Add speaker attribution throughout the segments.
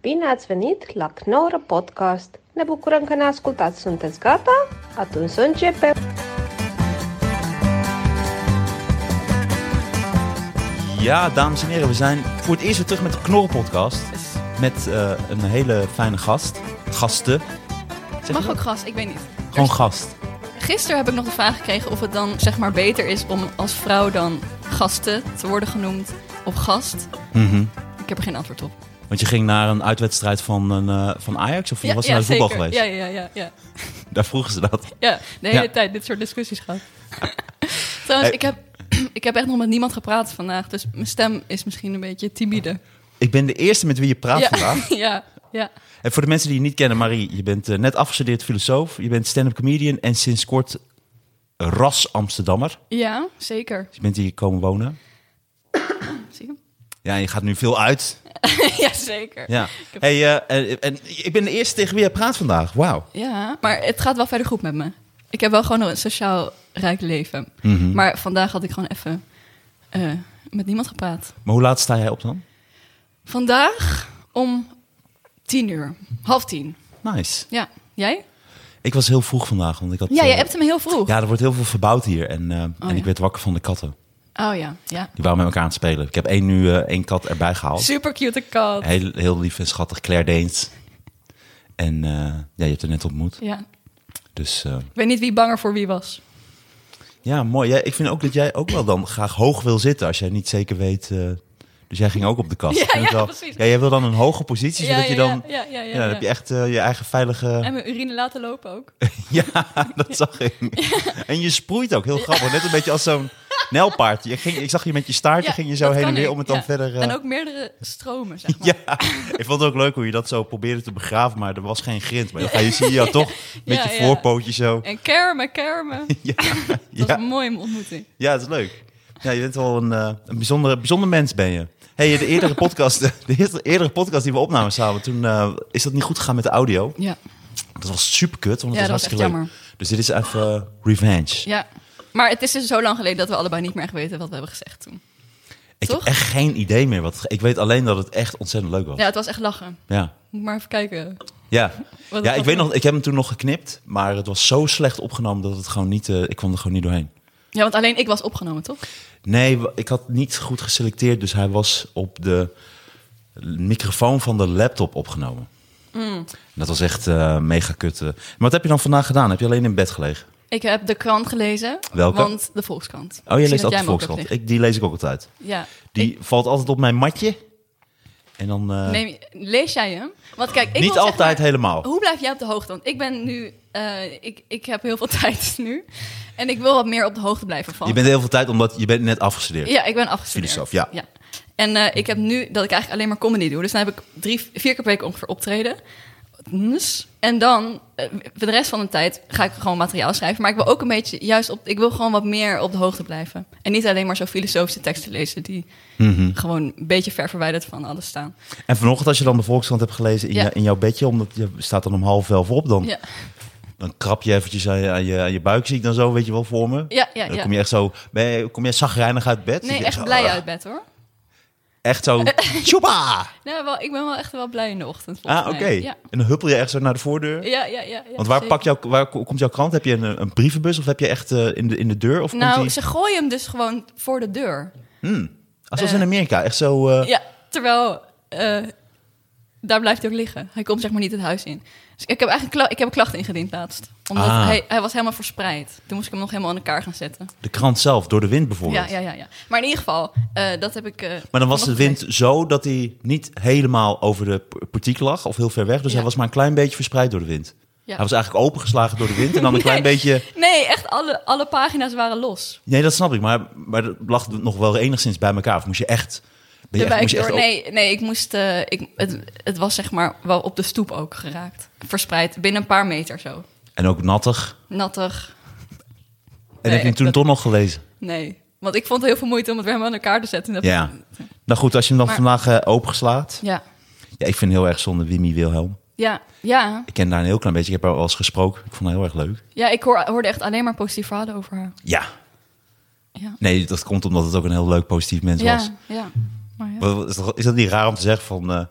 Speaker 1: Bine ați venit la Knorr Podcast! Ne bucurăm că ne ascultați! Sunteți gata? Atunci să începem!
Speaker 2: Ja, dames en heren, we zijn voor het eerst weer terug met de Knorren-podcast. Met eh, een hele fijne gast. Gasten. Zeg je
Speaker 3: Mag
Speaker 2: dat?
Speaker 3: ook gast, ik weet niet.
Speaker 2: Gewoon gast.
Speaker 3: Gisteren heb ik nog de vraag gekregen of het dan zeg maar beter is om als vrouw dan gasten te worden genoemd of gast.
Speaker 2: Mhm.
Speaker 3: Ik heb er geen antwoord op.
Speaker 2: Want je ging naar een uitwedstrijd van, een, eh, van Ajax of je was naar de voetbal
Speaker 3: zeker.
Speaker 2: geweest?
Speaker 3: Ja, ja, ja, ja,
Speaker 2: Daar vroegen ze dat.
Speaker 3: ja. De hele
Speaker 2: Ja.
Speaker 3: tijd dit soort discussies gehad. Trouwens,
Speaker 2: Hey.
Speaker 3: ik, heb, ik heb echt nog met niemand gepraat vandaag, dus mijn stem is misschien een beetje timide.
Speaker 2: Ik ben de eerste met wie je praat
Speaker 3: ja.
Speaker 2: Ah, vandaag.
Speaker 3: ja, ja.
Speaker 2: En voor de mensen die je niet kennen, Marie, je bent eh, net afgestudeerd filosoof. Je bent stand-up comedian en sinds kort ras Amsterdammer.
Speaker 3: Ja, zeker.
Speaker 2: Dus je bent hier komen wonen.
Speaker 3: Zie je?
Speaker 2: Ja, en je gaat nu veel uit.
Speaker 3: ja, zeker.
Speaker 2: Ja. Hey, eh, en, en ik ben de eerste tegen wie je praat vandaag. Wauw.
Speaker 3: Ja, maar het gaat wel verder goed met me. Ik heb wel gewoon een sociaal rijk leven.
Speaker 2: Mhm.
Speaker 3: Maar vandaag had ik gewoon even eh, met niemand gepraat.
Speaker 2: Maar hoe laat sta jij op dan?
Speaker 3: Vandaag om tien uur. Half tien.
Speaker 2: Nice.
Speaker 3: Ja. Jij?
Speaker 2: Ik was heel vroeg vandaag, want ik had...
Speaker 3: Ja,
Speaker 2: eh,
Speaker 3: jij hebt hem heel vroeg. Oh,
Speaker 2: Ja, er wordt heel veel verbouwd hier. En, eh, en
Speaker 3: ja.
Speaker 2: ik werd wakker van de katten.
Speaker 3: Oh ja, ja.
Speaker 2: Die waren met elkaar aan het spelen. Ik heb één, nu eh, één kat erbij gehaald.
Speaker 3: Super cute kat.
Speaker 2: Heel, heel lief en schattig, Claire Deens. En eh, ja, je hebt haar net ontmoet.
Speaker 3: Ja.
Speaker 2: Dus eh,
Speaker 3: Ik weet niet wie banger voor wie was.
Speaker 2: ja, mooi. Jij, ik vind ook dat jij ook wel dan graag hoog wil zitten als jij niet zeker weet... eh, dus jij ging ook op de kast.
Speaker 3: Ja,
Speaker 2: Ik vind het
Speaker 3: ja,
Speaker 2: wel-
Speaker 3: precies.
Speaker 2: Ja, jij wil dan een hoge positie, zodat je dan...
Speaker 3: ja, ja, ja,
Speaker 2: Ja, dan
Speaker 3: ja.
Speaker 2: heb je echt eh, je eigen veilige...
Speaker 3: En mijn urine laten lopen ook.
Speaker 2: Ja, dat zag ik. En je sproeit ook heel grappig. Net een beetje als zo'n nelpaard. Je ging, ik zag je met je staartje,
Speaker 3: Ja,
Speaker 2: ging je zo
Speaker 3: dat
Speaker 2: heen en
Speaker 3: kan
Speaker 2: weer
Speaker 3: ik,
Speaker 2: om het dan
Speaker 3: ja.
Speaker 2: verder. eh,
Speaker 3: En ook meerdere stromen, zeg maar.
Speaker 2: Ja, ik vond het ook leuk hoe je dat zo probeerde te begraven, maar er was geen grind. Maar dan ga je, zie je jou toch met
Speaker 3: Ja,
Speaker 2: je
Speaker 3: ja.
Speaker 2: voorpootje zo.
Speaker 3: En kermen, kermen.
Speaker 2: Ja,
Speaker 3: Dat was
Speaker 2: ja,
Speaker 3: een mooie ontmoeting.
Speaker 2: ja, het is leuk. Ja, je bent wel een, eh, een bijzonder, bijzonder mens ben je. hey, de eerdere podcast, eh, de eerste- eerdere podcast die we opnamen samen, toen eh, is dat niet goed gegaan met de audio.
Speaker 3: Ja.
Speaker 2: Dat was super kut, want het
Speaker 3: Ja,
Speaker 2: was
Speaker 3: dat was
Speaker 2: hartstikke
Speaker 3: echt
Speaker 2: leuk. Dus dit is even eh, revenge.
Speaker 3: Ja, maar het is dus zo lang geleden dat we allebei niet meer weten wat we hebben gezegd toen.
Speaker 2: Ik
Speaker 3: Toch?
Speaker 2: heb echt geen idee meer. Wat, ik weet alleen dat het echt ontzettend leuk was.
Speaker 3: Ja,
Speaker 2: Ja.
Speaker 3: het was echt lachen.
Speaker 2: Ja.
Speaker 3: Moet maar even kijken.
Speaker 2: Ja,
Speaker 3: Wat
Speaker 2: ik
Speaker 3: was
Speaker 2: weet
Speaker 3: dat?
Speaker 2: nog, ik heb hem toen nog geknipt, maar het was zo slecht opgenomen dat het gewoon niet, eh, ik kwam er gewoon niet doorheen.
Speaker 3: Ja, want alleen ik was opgenomen, toch?
Speaker 2: Nee, w- ik had niet goed geselecteerd, dus hij was op de microfoon van de laptop opgenomen.
Speaker 3: Mm.
Speaker 2: En Dat was echt eh, mega kut. eh. Maar wat heb je dan vandaag gedaan? Heb je alleen in bed gelegen?
Speaker 3: Ik heb de krant gelezen.
Speaker 2: Welke?
Speaker 3: Want de Volkskrant. Ik
Speaker 2: Oh,
Speaker 3: zie
Speaker 2: je leest altijd
Speaker 3: dat jij hem ook hebt
Speaker 2: Volkskrant. Ik, die lees ik ook altijd.
Speaker 3: liggen. Ja.
Speaker 2: Die
Speaker 3: Ik-
Speaker 2: valt altijd op mijn matje. En dan eh,
Speaker 3: neem- lees jij hem? Want kijk, ik
Speaker 2: niet
Speaker 3: wil
Speaker 2: altijd
Speaker 3: zeg maar-
Speaker 2: helemaal.
Speaker 3: Hoe blijf jij op de hoogte? Want ik ben nu... eh, ik, ik heb heel veel tijd nu. En ik wil wat meer op de hoogte blijven van.
Speaker 2: Je bent heel veel tijd, omdat je bent net afgestudeerd.
Speaker 3: Ja, ik ben afgestudeerd.
Speaker 2: Filosoof, ja.
Speaker 3: En eh, ik heb nu dat ik eigenlijk alleen maar comedy doe. Dus dan heb ik drie, vier keer per week ongeveer optreden. Dus. En dan, eh, voor de rest van de tijd, ga ik gewoon materiaal schrijven. Maar ik wil ook een beetje, juist op, ik wil gewoon wat meer op de hoogte blijven. En niet alleen maar zo filosofische teksten lezen die
Speaker 2: Mhm.
Speaker 3: gewoon een beetje ver verwijderd van alles staan.
Speaker 2: En vanochtend, als je dan de Volkskrant hebt gelezen in,
Speaker 3: Ja.
Speaker 2: je, in jouw bedje, omdat je staat dan om half elf op, dan,
Speaker 3: Ja,
Speaker 2: dan krap je eventjes aan je, aan, je, aan je buik, zie ik dan zo, weet je wel, voor me.
Speaker 3: ja, ja.
Speaker 2: dan
Speaker 3: ja.
Speaker 2: kom je echt zo, ben je, kom je zagrijnig uit bed? Zit
Speaker 3: Nee,
Speaker 2: je
Speaker 3: echt
Speaker 2: zo,
Speaker 3: blij
Speaker 2: ah,
Speaker 3: uit bed hoor.
Speaker 2: Echt zo, tjoepa!
Speaker 3: Nou, wel, ik ben wel echt wel blij in de ochtend. volgens
Speaker 2: Ah, oké.
Speaker 3: mij. Ja.
Speaker 2: En dan huppel je echt zo naar de voordeur.
Speaker 3: Ja, ja, ja, ja,
Speaker 2: Want waar,
Speaker 3: zeker.
Speaker 2: pak jou, waar ko- komt jouw krant? Heb je een, een brievenbus of heb je echt eh, in, de, in de deur? Of
Speaker 3: Nou,
Speaker 2: komt die,
Speaker 3: ze gooien hem dus gewoon voor de deur.
Speaker 2: Ah, zoals in Amerika, echt zo... eh,
Speaker 3: Ja, terwijl eh, daar blijft hij ook liggen. Hij komt zeg maar niet het huis in. Dus ik heb eigenlijk kla- ik heb een klacht ingediend laatst. Omdat
Speaker 2: Ah.
Speaker 3: hij, hij was helemaal verspreid. Toen moest ik hem nog helemaal aan elkaar gaan zetten.
Speaker 2: De krant zelf, door de wind
Speaker 3: Ja,
Speaker 2: bijvoorbeeld.
Speaker 3: ja, ja, ja. Maar in ieder geval, eh, dat heb ik... eh,
Speaker 2: Oh, Maar dan was de
Speaker 3: vanochtend
Speaker 2: wind zo dat hij niet helemaal over de p- portiek lag of heel ver weg. Dus
Speaker 3: Ja.
Speaker 2: hij was maar een klein beetje verspreid door de wind.
Speaker 3: Ja.
Speaker 2: Hij was eigenlijk opengeslagen door de wind en dan een
Speaker 3: Nee.
Speaker 2: klein beetje...
Speaker 3: gelezen. Nee, echt alle, alle pagina's waren los.
Speaker 2: Nee, dat snap ik, maar, maar dat lag nog wel enigszins bij elkaar. Of moest je echt... ben
Speaker 3: De
Speaker 2: je echt-
Speaker 3: wijk
Speaker 2: moest je echt
Speaker 3: door.
Speaker 2: op-
Speaker 3: Nee, nee, ik moest... eh, ik, het, het was zeg maar wel op de stoep ook geraakt. Verspreid, binnen een paar meter zo.
Speaker 2: En ook nattig.
Speaker 3: Nattig.
Speaker 2: En heb
Speaker 3: Nee,
Speaker 2: je hem
Speaker 3: echt,
Speaker 2: toen
Speaker 3: dat-
Speaker 2: toch nog gelezen?
Speaker 3: Nee. Want ik vond het heel veel moeite om het weer helemaal aan elkaar te zetten. En dat-
Speaker 2: Ja. Nou goed, als je hem dan
Speaker 3: Maar-
Speaker 2: vandaag eh, opengeslaat...
Speaker 3: Ja.
Speaker 2: Ja, ik vind het heel erg zonde Wimmy Wilhelm.
Speaker 3: Ja. Ja.
Speaker 2: Ik ken daar een heel klein beetje. Ik heb haar wel eens gesproken. Ik vond haar heel erg leuk.
Speaker 3: Ja, ik hoor, hoorde echt alleen maar positieve verhalen over haar.
Speaker 2: Ja.
Speaker 3: Ja,
Speaker 2: Nee, dat komt omdat het ook een heel leuk, positief mens was.
Speaker 3: ja, ja. Maar ja.
Speaker 2: Wat- wat- Is dat niet raar om te zeggen van... eh,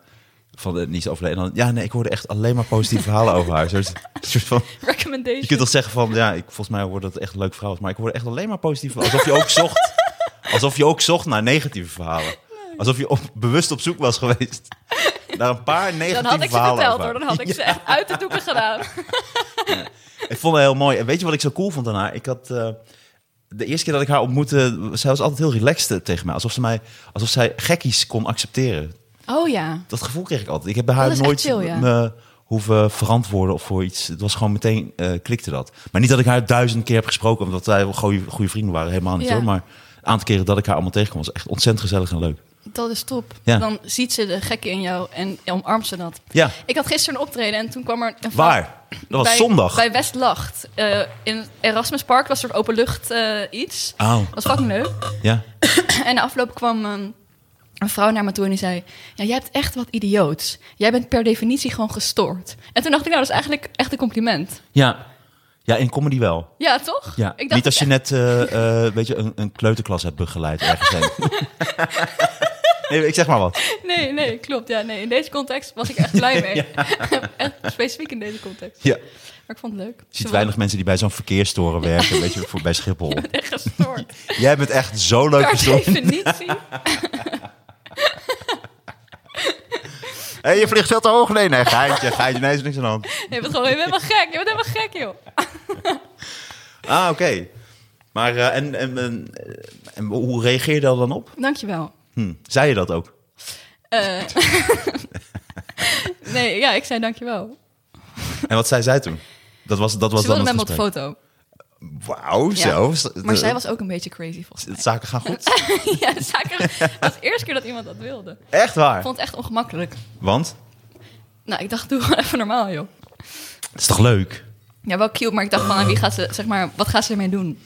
Speaker 2: Van het niet overleden. En dan, ja, nee, ik hoorde echt alleen maar positieve verhalen over haar. Een soort- een soort van,
Speaker 3: Recommendation.
Speaker 2: je kunt toch zeggen van, ja, ik, volgens mij hoorde dat echt een leuk verhaal. Maar ik hoorde echt alleen maar positieve Alsof je ook zocht. Alsof je ook zocht naar negatieve verhalen. Alsof je op, bewust op zoek was geweest. Naar een paar negatieve
Speaker 3: dan had ik ze
Speaker 2: verhalen
Speaker 3: verteld
Speaker 2: over
Speaker 3: hoor.
Speaker 2: haar.
Speaker 3: Dan had ik ze echt uit de doeken gedaan.
Speaker 2: Ik vond haar heel mooi. En weet je wat ik zo cool vond aan haar? Ik had... eh, de eerste keer dat ik haar ontmoette, zij was altijd heel relaxed eh, tegen mij. Alsof, ze mij, alsof zij gekkies kon accepteren.
Speaker 3: Oh ja.
Speaker 2: Dat gevoel kreeg ik altijd. Ik heb bij haar
Speaker 3: Oh, Dat is echt
Speaker 2: nooit
Speaker 3: chill, ja.
Speaker 2: me hoeven verantwoorden of voor iets. Het was gewoon meteen eh, klikte dat. Maar niet dat ik haar duizend keer heb gesproken, omdat wij wel goede, goede vrienden waren, helemaal niet.
Speaker 3: Ja.
Speaker 2: Hoor. Maar een aantal keren dat ik haar allemaal tegenkwam, was echt ontzettend gezellig en leuk.
Speaker 3: Dat is top.
Speaker 2: Ja.
Speaker 3: Dan ziet ze de gekke in jou en omarmt ze dat.
Speaker 2: Ja,
Speaker 3: Ik had gisteren een optreden en toen kwam er een vrouw-
Speaker 2: waar? Dat was
Speaker 3: bij,
Speaker 2: zondag.
Speaker 3: Bij Westlacht. Eh in het Erasmus Park was er openlucht eh iets.
Speaker 2: Oh,
Speaker 3: Dat was fucking leuk.
Speaker 2: ja.
Speaker 3: En de afloop kwam ehm, een vrouw naar me toe en die zei... Ja, jij hebt echt wat idioots. Jij bent per definitie gewoon gestoord. En toen dacht ik, nou, dat is eigenlijk echt een compliment.
Speaker 2: ja. Ja, in comedy wel.
Speaker 3: Ja, toch?
Speaker 2: Ja.
Speaker 3: Ik dacht,
Speaker 2: niet als je net eh, eh, weet je, een, een kleuterklas hebt begeleid ergens heen. nee, ik zeg maar wat.
Speaker 3: Nee, nee, klopt. Ja, nee. In deze context was ik echt blij mee. echt specifiek in deze context.
Speaker 2: Ja.
Speaker 3: Maar ik vond het leuk.
Speaker 2: Je ziet weinig mensen die bij zo'n verkeerstoren werken, weet je, voor, bij Schiphol.
Speaker 3: Ik ben echt gestoord.
Speaker 2: Jij bent echt zo leuk
Speaker 3: Per
Speaker 2: gestopt.
Speaker 3: definitie.
Speaker 2: Hé, je vliegt veel te hoog. Nee, nee, geintje, geintje. Nee, is niks aan de hand.
Speaker 3: Je bent gewoon je bent helemaal gek. Je bent helemaal gek, joh.
Speaker 2: Ah, oké. Maar, eh, en, en, en, en hoe reageer je daar dan op?
Speaker 3: Dankjewel.
Speaker 2: Hm, zei je dat ook?
Speaker 3: Eh nee, ja, ik zei dankjewel.
Speaker 2: En wat zei zij toen? Dat was, dat was
Speaker 3: Ze wilde
Speaker 2: dan
Speaker 3: met
Speaker 2: het
Speaker 3: me op de
Speaker 2: gesprek.
Speaker 3: foto.
Speaker 2: Wauw,
Speaker 3: Ja.
Speaker 2: zo.
Speaker 3: Maar zij was ook een beetje crazy, volgens
Speaker 2: De zaken gaan goed.
Speaker 3: mij. ja, dat is eigenlijk- dat was de eerste keer dat iemand dat wilde.
Speaker 2: Echt
Speaker 3: Ik
Speaker 2: waar.
Speaker 3: vond het echt ongemakkelijk.
Speaker 2: Want,
Speaker 3: Nou, ik dacht, doe gewoon even normaal, joh.
Speaker 2: het is toch leuk?
Speaker 3: Ja, wel cute, maar ik dacht van, aan wie gaat ze, zeg maar, wat gaat ze ermee doen?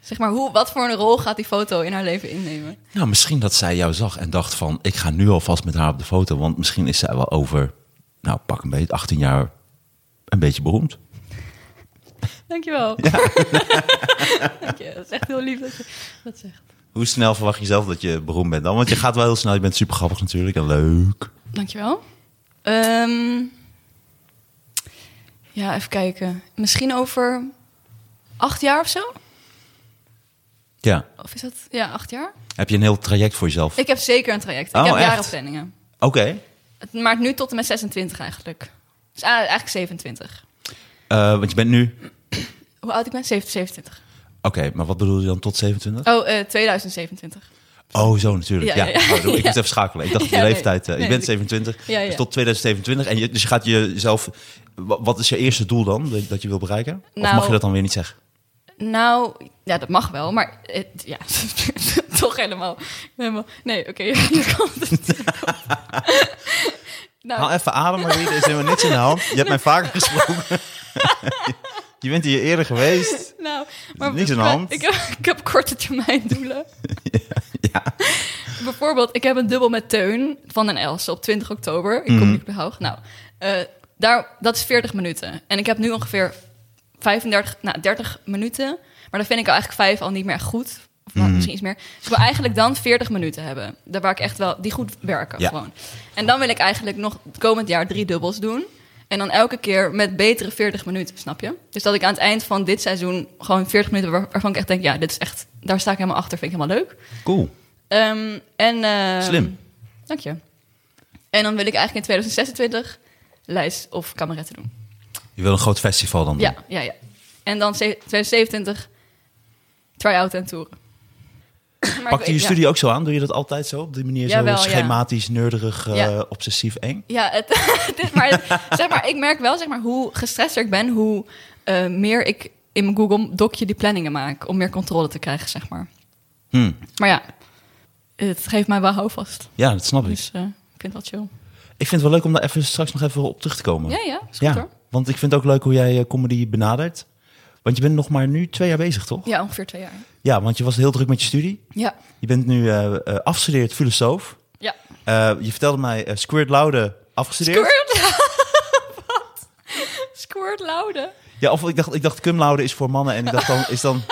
Speaker 3: Zeg maar, hoe, wat voor een rol gaat die foto in haar leven innemen?
Speaker 2: Nou, misschien dat zij jou zag en dacht van... ik ga nu alvast met haar op de foto. Want misschien is zij wel over, nou pak een beetje, 18 jaar een beetje beroemd.
Speaker 3: Dankjewel. Dank je, dat is echt heel lief dat je dat zegt.
Speaker 2: Hoe snel verwacht je zelf dat je beroemd bent dan? Want je gaat wel heel snel. Je bent super grappig natuurlijk en leuk.
Speaker 3: Dankjewel. Ehm ja, even kijken. Misschien over acht jaar of zo?
Speaker 2: Ja.
Speaker 3: Of is dat? Ja, acht jaar.
Speaker 2: Heb je een heel traject voor jezelf?
Speaker 3: Ik heb zeker een traject.
Speaker 2: Oh,
Speaker 3: ik heb
Speaker 2: echt?
Speaker 3: jarenplanningen.
Speaker 2: Oké.
Speaker 3: Het maakt nu tot en met 26 eigenlijk. Dus ah, eigenlijk 27.
Speaker 2: Eh, want je bent nu...
Speaker 3: Hoe oud ik ben? 7- 27.
Speaker 2: Oké, maar wat bedoel je dan tot 27?
Speaker 3: Oh, eh, 2027.
Speaker 2: Oh, zo natuurlijk. Ja,
Speaker 3: Ja, ja, ja.
Speaker 2: Oh, ik moet
Speaker 3: Ja.
Speaker 2: even schakelen. Ik dacht
Speaker 3: Ja,
Speaker 2: je
Speaker 3: nee.
Speaker 2: leeftijd. eh,
Speaker 3: Nee,
Speaker 2: je bent
Speaker 3: dat-
Speaker 2: 27.
Speaker 3: Ja, ja.
Speaker 2: Dus tot 2027. En je, dus je gaat jezelf... wa- Wat is je eerste doel dan dat- dat je wil bereiken? of
Speaker 3: Nou-
Speaker 2: mag je dat dan weer niet zeggen?
Speaker 3: Nou, ja, dat mag wel, maar het- ja, toch helemaal. helemaal nee, oké, hier komt het. hier komt het. nou,
Speaker 2: Haal even adem, Marie. Er is helemaal niks in de hand. Je hebt mij vaker gesproken. je bent hier eerder geweest.
Speaker 3: Nou, maar
Speaker 2: Niks aan de hand.
Speaker 3: Ik, heb, ik heb korte termijn doelen. Bijvoorbeeld, ik heb een dubbel met Teun van den Els op 20 oktober. Ik kom niet op hoog. Nou, eh, daar, dat is 40 minuten. En ik heb nu ongeveer 35, nou, 30 minuten. Maar dan vind ik eigenlijk vijf al niet meer echt goed. Of nou, misschien iets meer. Dus ik wil eigenlijk dan 40 minuten hebben. Daar waar ik echt wel, die goed werken
Speaker 2: Ja.
Speaker 3: gewoon. En dan wil ik eigenlijk nog komend jaar drie dubbels doen. En dan elke keer met betere 40 minuten, snap je? Dus dat ik aan het eind van dit seizoen gewoon 40 minuten waar- waarvan ik echt denk, ja, dit is echt, daar sta ik helemaal achter, vind ik helemaal leuk.
Speaker 2: Cool.
Speaker 3: Ehm, en, ehm,
Speaker 2: Slim.
Speaker 3: Dank je. En dan wil ik eigenlijk in 2026 lijst of kameretten doen.
Speaker 2: Je wil een groot festival dan doen.
Speaker 3: Ja, ja, ja. En dan ze- 2027 try-out en toeren. Maar ik
Speaker 2: Pakte
Speaker 3: weet-
Speaker 2: je
Speaker 3: ja.
Speaker 2: studie ook zo aan? Doe je dat altijd zo? Op die manier zo
Speaker 3: Jawel, ja.
Speaker 2: schematisch, neurderig, eh,
Speaker 3: Ja.
Speaker 2: obsessief eng?
Speaker 3: Ja, het, het is maar, zeg maar, ik merk wel zeg maar, hoe gestresster ik ben, hoe eh, meer ik in mijn Google Docje die planningen maak om meer controle te krijgen, zeg maar.
Speaker 2: Hm.
Speaker 3: Maar ja, het geeft mij wel houvast.
Speaker 2: Ja, dat snap ik.
Speaker 3: Dus eh, ik vind dat chill.
Speaker 2: Ik vind het wel leuk om daar even straks nog even op terug te komen.
Speaker 3: Ja, ja, is goed
Speaker 2: Ja,
Speaker 3: hoor.
Speaker 2: want ik vind het ook leuk hoe jij eh, comedy benadert. Want je bent nog maar nu twee jaar bezig, toch?
Speaker 3: Ja, ongeveer twee jaar.
Speaker 2: Ja, want je was heel druk met je studie.
Speaker 3: Ja,
Speaker 2: Je bent nu eh, eh, afgestudeerd filosoof.
Speaker 3: ja.
Speaker 2: Eh, je vertelde mij eh, Squirt Laude afgestudeerd.
Speaker 3: Squirt. Wat? Squirt Laude.
Speaker 2: Ja, of ik dacht, ik dacht cum laude is voor mannen en ik dacht dan is dan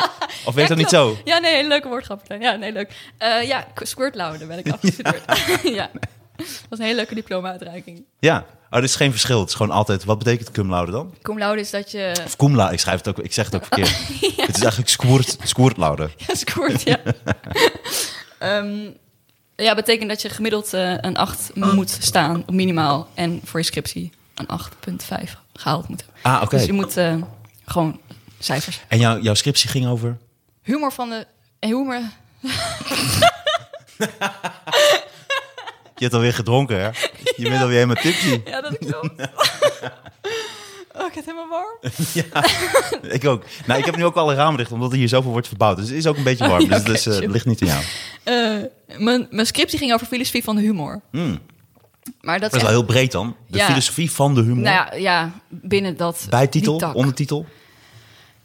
Speaker 2: of weet
Speaker 3: Ja,
Speaker 2: dat niet
Speaker 3: klopt.
Speaker 2: zo?
Speaker 3: Ja, nee, hele leuke woordgrap. Martijn. Ja, nee, leuk. Eh, ja, k- Squirt Laude ben ik afgestudeerd. ja. Dat was een hele leuke diploma-uitreiking.
Speaker 2: Ja. Oh, er is geen verschil. Het is gewoon altijd... Wat betekent cum laude dan?
Speaker 3: Cum laude is dat je...
Speaker 2: Of cum laude. Ik, schrijf het ook, ik zeg het ook verkeerd. Het is eigenlijk squirt, squirt laude.
Speaker 3: Ja, scoort, ja. Ehm, ja, betekent dat je gemiddeld eh, een 8 moet staan, minimaal. En voor je scriptie een 8,5 gehaald moet hebben.
Speaker 2: Ah, oké.
Speaker 3: Dus je moet eh, gewoon cijfers.
Speaker 2: En jouw jouw scriptie ging over...
Speaker 3: Humor van de... eh, Humor...
Speaker 2: Je hebt alweer gedronken, hè? Je bent alweer helemaal tipsy.
Speaker 3: Ja, dat klopt. oh, ik heb helemaal warm.
Speaker 2: Ik ook. Nou, ik heb nu ook alle ramen dicht, omdat er hier zoveel wordt verbouwd. Dus het is ook een beetje warm.
Speaker 3: Oh, ja,
Speaker 2: dus het is,
Speaker 3: oké,
Speaker 2: eh,
Speaker 3: chill.
Speaker 2: ligt niet in jou.
Speaker 3: Eh, mijn, mijn scriptie ging over filosofie van de humor.
Speaker 2: Dat Hmm.
Speaker 3: Maar dat is
Speaker 2: is wel
Speaker 3: echt-
Speaker 2: heel breed dan. De
Speaker 3: Ja.
Speaker 2: filosofie van de humor.
Speaker 3: nou ja, ja, binnen dat die
Speaker 2: Bijtitel,
Speaker 3: tak.
Speaker 2: ondertitel.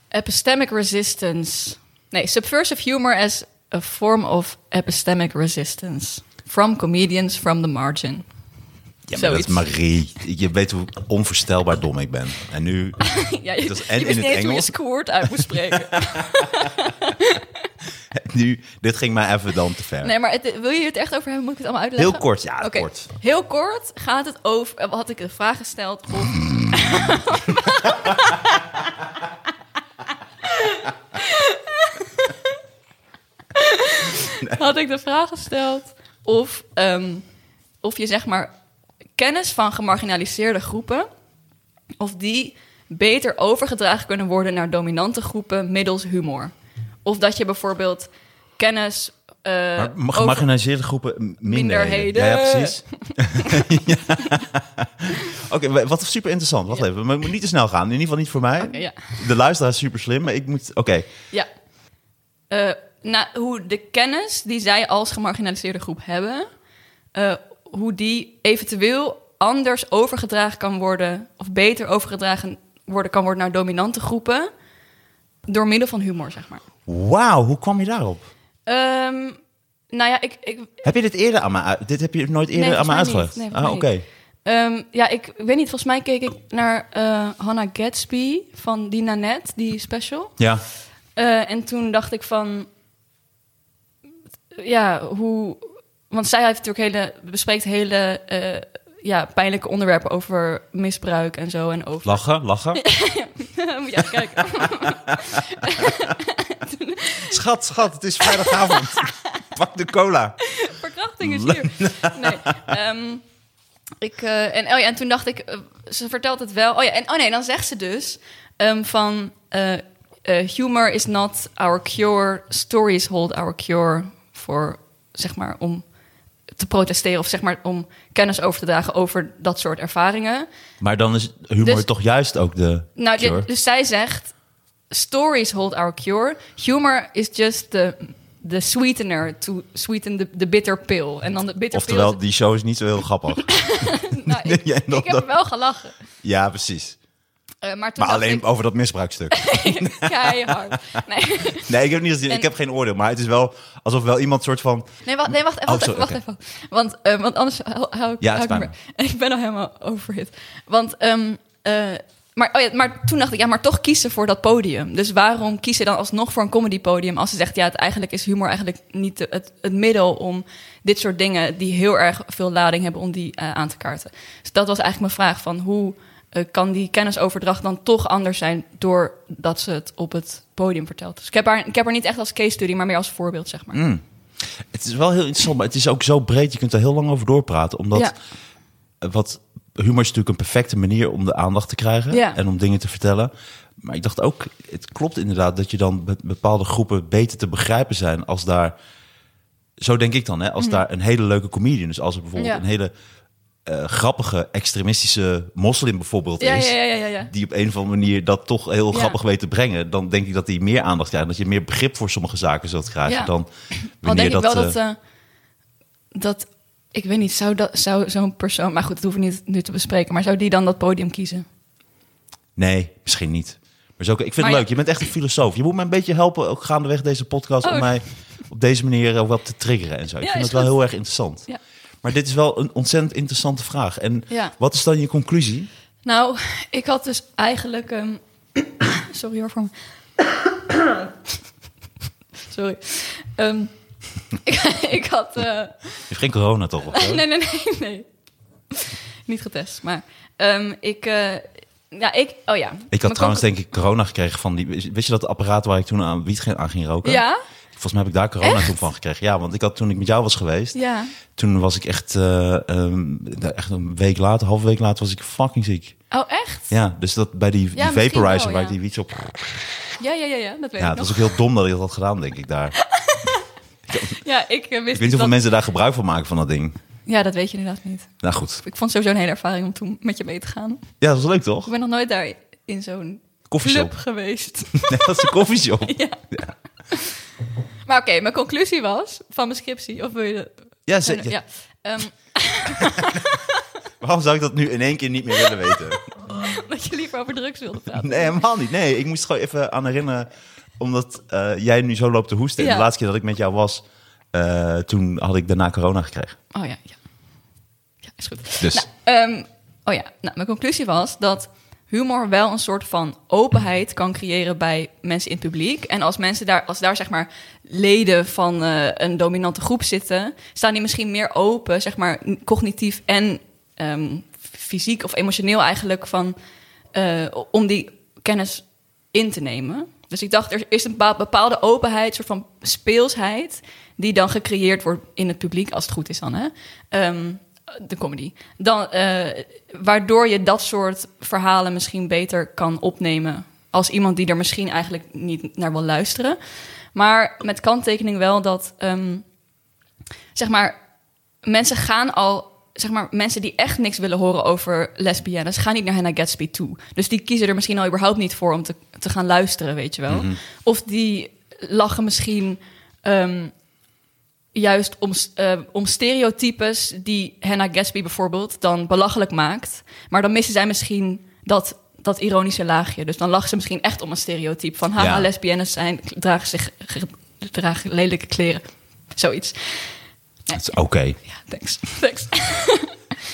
Speaker 3: Epistemic resistance. Nee, subversive humor as a form of epistemic resistance. From comedians from the margin.
Speaker 2: Ja, maar dat is
Speaker 3: Zoiets.
Speaker 2: Marie. Je weet hoe onvoorstelbaar dom ik ben. En nu...
Speaker 3: ja, je,
Speaker 2: Dat is en
Speaker 3: je
Speaker 2: in het
Speaker 3: wist niet eens hoe je
Speaker 2: Engels.
Speaker 3: squirt uit moet spreken.
Speaker 2: nu dit ging mij even dan te ver.
Speaker 3: nee, maar het- wil je het echt over hebben? Moet ik het allemaal uitleggen?
Speaker 2: Heel kort, ja,
Speaker 3: Oké.
Speaker 2: kort.
Speaker 3: Heel kort gaat het over... eh, Had ik een vraag gesteld of... had ik de vraag gesteld of, ehm, of je zeg maar kennis van gemarginaliseerde groepen, of die beter overgedragen kunnen worden naar dominante groepen middels humor. Of dat je bijvoorbeeld kennis. eh,
Speaker 2: Maar ma-
Speaker 3: over-
Speaker 2: gemarginaliseerde groepen, m- minderheden.
Speaker 3: Minderheden.
Speaker 2: Ja, ja, precies. Ja. Oké, wa- wat super interessant. Wacht even, maar het moet niet te snel gaan. In ieder geval niet voor mij.
Speaker 3: Oké, ja.
Speaker 2: De luisteraar is super slim, maar ik moet... Oké,
Speaker 3: Ja. Eh, nou, hoe de kennis die zij als gemarginaliseerde groep hebben, eh, hoe die eventueel anders overgedragen kan worden, of beter overgedragen worden kan worden naar dominante groepen, door middel van humor, zeg maar.
Speaker 2: wauw, hoe kwam je daarop?
Speaker 3: Ehm, nou ja, ik, ik,
Speaker 2: Heb je dit eerder aan mij uit- Dit heb je nooit eerder
Speaker 3: Nee,
Speaker 2: aan mij
Speaker 3: volgens mij
Speaker 2: uitgelegd?
Speaker 3: niet. Nee,
Speaker 2: ah,
Speaker 3: volgens
Speaker 2: oké.
Speaker 3: mij ehm, ja, ik, ik weet niet, volgens mij keek ik naar eh, Hannah Gatsby van die Nanette, die special.
Speaker 2: Ja.
Speaker 3: Eh, en toen dacht ik van... Ja, hoe... Want zij heeft natuurlijk hele, bespreekt hele eh, ja, pijnlijke onderwerpen over misbruik en zo. En over...
Speaker 2: Lachen, lachen.
Speaker 3: ja, kijk.
Speaker 2: Schat, schat, het is vrijdagavond. Pak de cola.
Speaker 3: Verkrachting is hier. Nee. ehm, ik, eh, en, oh ja, en toen dacht ik, eh, ze vertelt het wel. Oh ja, en oh nee, dan zegt ze dus ehm, van eh, eh, humor is not our cure, stories hold our cure voor zeg maar om te protesteren of zeg maar om kennis over te dragen over dat soort ervaringen.
Speaker 2: Maar dan is humor
Speaker 3: Dus-
Speaker 2: toch juist ook de
Speaker 3: Nou, dit-
Speaker 2: cure?
Speaker 3: dus zij zegt: Stories hold our cure. Humor is just the, the sweetener to sweeten the, the bitter pill. En dan de bitter
Speaker 2: Oftewel,
Speaker 3: pill.
Speaker 2: die show is niet zo heel grappig.
Speaker 3: is- nou, ik,
Speaker 2: jij nog
Speaker 3: ik heb
Speaker 2: dat-
Speaker 3: wel gelachen.
Speaker 2: ja, precies.
Speaker 3: Eh, maar toen
Speaker 2: Maar alleen
Speaker 3: dacht
Speaker 2: over dat misbruikstuk.
Speaker 3: ik, keihard. Nee,
Speaker 2: Nee, ik heb, niet, gezien. ik
Speaker 3: En-
Speaker 2: heb geen oordeel. Maar het is wel alsof wel iemand soort van...
Speaker 3: nee, wacht, nee, wacht even.
Speaker 2: Oh,
Speaker 3: wacht
Speaker 2: sorry,
Speaker 3: even, wacht even. Want, eh, want anders hou, hou ik
Speaker 2: Ja, het
Speaker 3: hou ik
Speaker 2: spijt
Speaker 3: me. Ik ben al helemaal overhit. Want, ehm, eh, maar, oh ja, maar toen dacht ik, ja, maar toch kiezen voor dat podium. Dus waarom kies je dan alsnog voor een comedypodium... als ze zegt, ja, het, eigenlijk is humor eigenlijk niet de- het, het middel... om dit soort dingen die heel erg veel lading hebben... om die eh, aan te kaarten. Dus dat was eigenlijk mijn vraag van hoe... eh, kan die kennisoverdracht dan toch anders zijn doordat ze het op het podium vertelt? Dus ik heb haar, ik heb haar niet echt als case study, maar meer als voorbeeld, zeg maar.
Speaker 2: Mm, Het is wel heel interessant, maar het is ook zo breed. Je kunt er heel lang over doorpraten. Omdat
Speaker 3: Ja.
Speaker 2: eh, wat, humor is natuurlijk een perfecte manier om de aandacht te krijgen.
Speaker 3: Ja.
Speaker 2: En om dingen te vertellen. Maar ik dacht ook, het klopt inderdaad dat je dan be- bepaalde groepen beter te begrijpen zijn als daar... Zo denk ik dan, hè, als daar een hele leuke comedian is. Als er bijvoorbeeld
Speaker 3: Mhm. Ja.
Speaker 2: een hele eh, grappige extremistische moslim bijvoorbeeld
Speaker 3: Ja,
Speaker 2: is.
Speaker 3: ja, ja, ja, ja, ja.
Speaker 2: Die op een of andere manier dat toch heel
Speaker 3: Ja.
Speaker 2: grappig weet te brengen. Dan denk ik dat die meer aandacht krijgt. Dat je meer begrip voor sommige zaken zult krijgen
Speaker 3: Ja.
Speaker 2: dan
Speaker 3: Al
Speaker 2: wanneer
Speaker 3: denk ik wel
Speaker 2: eh,
Speaker 3: dat, eh, dat... Ik weet niet, zou, dat, zou zo'n persoon... Maar goed, dat hoeven we niet nu te bespreken. Maar zou die dan dat podium kiezen?
Speaker 2: Nee, misschien niet. Maar zo, ik vind
Speaker 3: Maar
Speaker 2: het
Speaker 3: ja.
Speaker 2: leuk. Je bent echt een filosoof. Je moet me een beetje helpen, ook gaandeweg deze podcast, om
Speaker 3: Oh.
Speaker 2: mij op deze manier ook wel te triggeren en zo. Ik
Speaker 3: Ja,
Speaker 2: vind
Speaker 3: is
Speaker 2: het wel
Speaker 3: goed.
Speaker 2: heel erg interessant.
Speaker 3: Ja.
Speaker 2: Maar dit is wel een ontzettend interessante vraag. En
Speaker 3: Ja.
Speaker 2: wat is dan je conclusie?
Speaker 3: Nou, ik had dus eigenlijk... ehm, sorry hoor voor me. sorry. Ehm, ik, ik had... eh,
Speaker 2: Je hebt geen corona toch? of wel?
Speaker 3: nee, nee, nee, nee. Niet getest, maar ehm, ik... eh, ja, ik... Oh ja.
Speaker 2: Ik had
Speaker 3: Mijn
Speaker 2: trouwens
Speaker 3: kanker-
Speaker 2: denk ik corona gekregen van die... Wist je dat apparaat waar ik toen aan wiet ging- aan ging roken?
Speaker 3: Ja?
Speaker 2: Volgens mij heb ik daar corona toen van gekregen. Ja, want ik had toen ik met jou was geweest...
Speaker 3: Ja.
Speaker 2: Toen was ik echt, eh, ehm, echt een week later, half week later, was ik fucking ziek.
Speaker 3: Oh, echt?
Speaker 2: Ja, dus dat bij die,
Speaker 3: Ja,
Speaker 2: die
Speaker 3: misschien
Speaker 2: vaporizer
Speaker 3: wel,
Speaker 2: waar ik
Speaker 3: ja.
Speaker 2: die wiets op...
Speaker 3: Ja, ja, ja, ja. Dat weet
Speaker 2: Ja,
Speaker 3: ik
Speaker 2: het
Speaker 3: nog.
Speaker 2: was ook heel dom dat ik dat had gedaan, denk ik daar.
Speaker 3: Ja, ik eh, wist
Speaker 2: Ik weet niet hoeveel
Speaker 3: dat-
Speaker 2: mensen daar gebruik van maken van dat ding.
Speaker 3: Ja, dat weet je inderdaad niet.
Speaker 2: Nou goed.
Speaker 3: Ik vond het sowieso een hele ervaring om toen met je mee te gaan.
Speaker 2: Ja, dat was leuk
Speaker 3: Ik
Speaker 2: toch?
Speaker 3: ben nog nooit daar in zo'n club
Speaker 2: Koffieshop.
Speaker 3: geweest.
Speaker 2: Nee, dat is een koffieshop.
Speaker 3: ja. Maar oké, mijn conclusie was van mijn scriptie. Of wil je de...
Speaker 2: Ja, zeker.
Speaker 3: Ja. Ehm,
Speaker 2: Waarom zou ik dat nu in één keer niet meer willen weten?
Speaker 3: dat je liever over drugs wilde praten.
Speaker 2: Nee, helemaal niet. Nee, ik moest er gewoon even aan herinneren. Omdat eh, jij nu zo loopt te hoesten. En
Speaker 3: Ja.
Speaker 2: de laatste keer dat ik met jou was, eh, toen had ik daarna corona gekregen.
Speaker 3: Oh ja, ja. Ja, is goed.
Speaker 2: Dus.
Speaker 3: Nou, ehm, oh ja, nou, mijn conclusie was dat humor wel een soort van openheid kan creëren bij mensen in het publiek. En als mensen daar, als daar zeg maar leden van eh, een dominante groep zitten, staan die misschien meer open, zeg maar n- cognitief en ehm, fysiek of emotioneel eigenlijk van eh, om die kennis in te nemen. Dus ik dacht, er is een bepa- bepaalde openheid, soort van speelsheid, die dan gecreëerd wordt in het publiek, als het goed is dan, hè? Ehm, de comedy. Dan, eh, waardoor je dat soort verhalen misschien beter kan opnemen als iemand die er misschien eigenlijk niet naar wil luisteren. Maar met kanttekening wel dat, ehm, zeg maar, mensen gaan al, zeg maar, mensen die echt niks willen horen over lesbiennes, gaan niet naar Hannah Gatsby toe. Dus die kiezen er misschien al überhaupt niet voor om te, te gaan luisteren, weet je wel.
Speaker 2: Mhm.
Speaker 3: Of die lachen misschien ehm, juist om, s- eh, om stereotypes die Hannah Gatsby bijvoorbeeld dan belachelijk maakt. Maar dan missen zij misschien dat, dat ironische laagje. Dus dan lachen ze misschien echt om een stereotype van haha,
Speaker 2: Ja.
Speaker 3: lesbiennes zijn, dragen, zich, dragen lelijke kleren. Zoiets.
Speaker 2: Dat is Oké.
Speaker 3: Ja, thanks. thanks.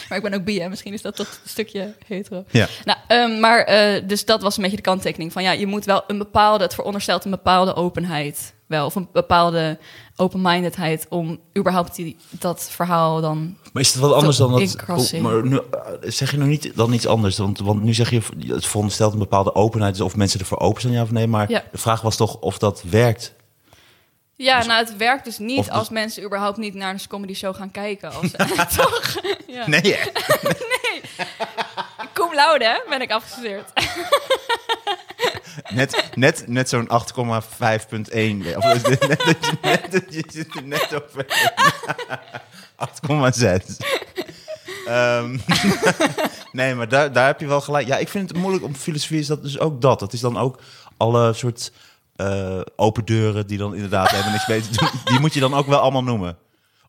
Speaker 3: maar ik ben ook bi, hè? misschien is dat toch een stukje hetero.
Speaker 2: Ja.
Speaker 3: Nou, ehm, maar eh, dus dat was een beetje de kanttekening van ja, je moet wel een bepaalde, het veronderstelt een bepaalde openheid wel, of een bepaalde open-mindedheid om überhaupt die, dat verhaal dan.
Speaker 2: Maar is het wat anders dan
Speaker 3: Ik
Speaker 2: dat?
Speaker 3: kras in.
Speaker 2: maar nu, eh, zeg je nog niet dan iets anders? Want, want nu zeg je, het veronderstelt een bepaalde openheid, dus of mensen ervoor open zijn ja of nee. Maar
Speaker 3: Ja.
Speaker 2: de vraag was toch of dat werkt?
Speaker 3: Ja, nou, het werkt dus
Speaker 2: Of
Speaker 3: niet
Speaker 2: dus-
Speaker 3: als mensen überhaupt niet naar een comedy show gaan kijken. Als, toch? Ja.
Speaker 2: Nee,
Speaker 3: Cum laude, hè, ben ik afgestudeerd.
Speaker 2: net, net, net zo'n 8,5.1. Of net, net, net, je zit er net over. 8,6. Ehm, nee, maar daar, daar heb je wel gelijk. Ja, ik vind het moeilijk om filosofie is dat dus ook dat. Dat is dan ook alle soort eh, open deuren die dan inderdaad hebben niks beter te doen. Die moet je dan ook wel allemaal noemen.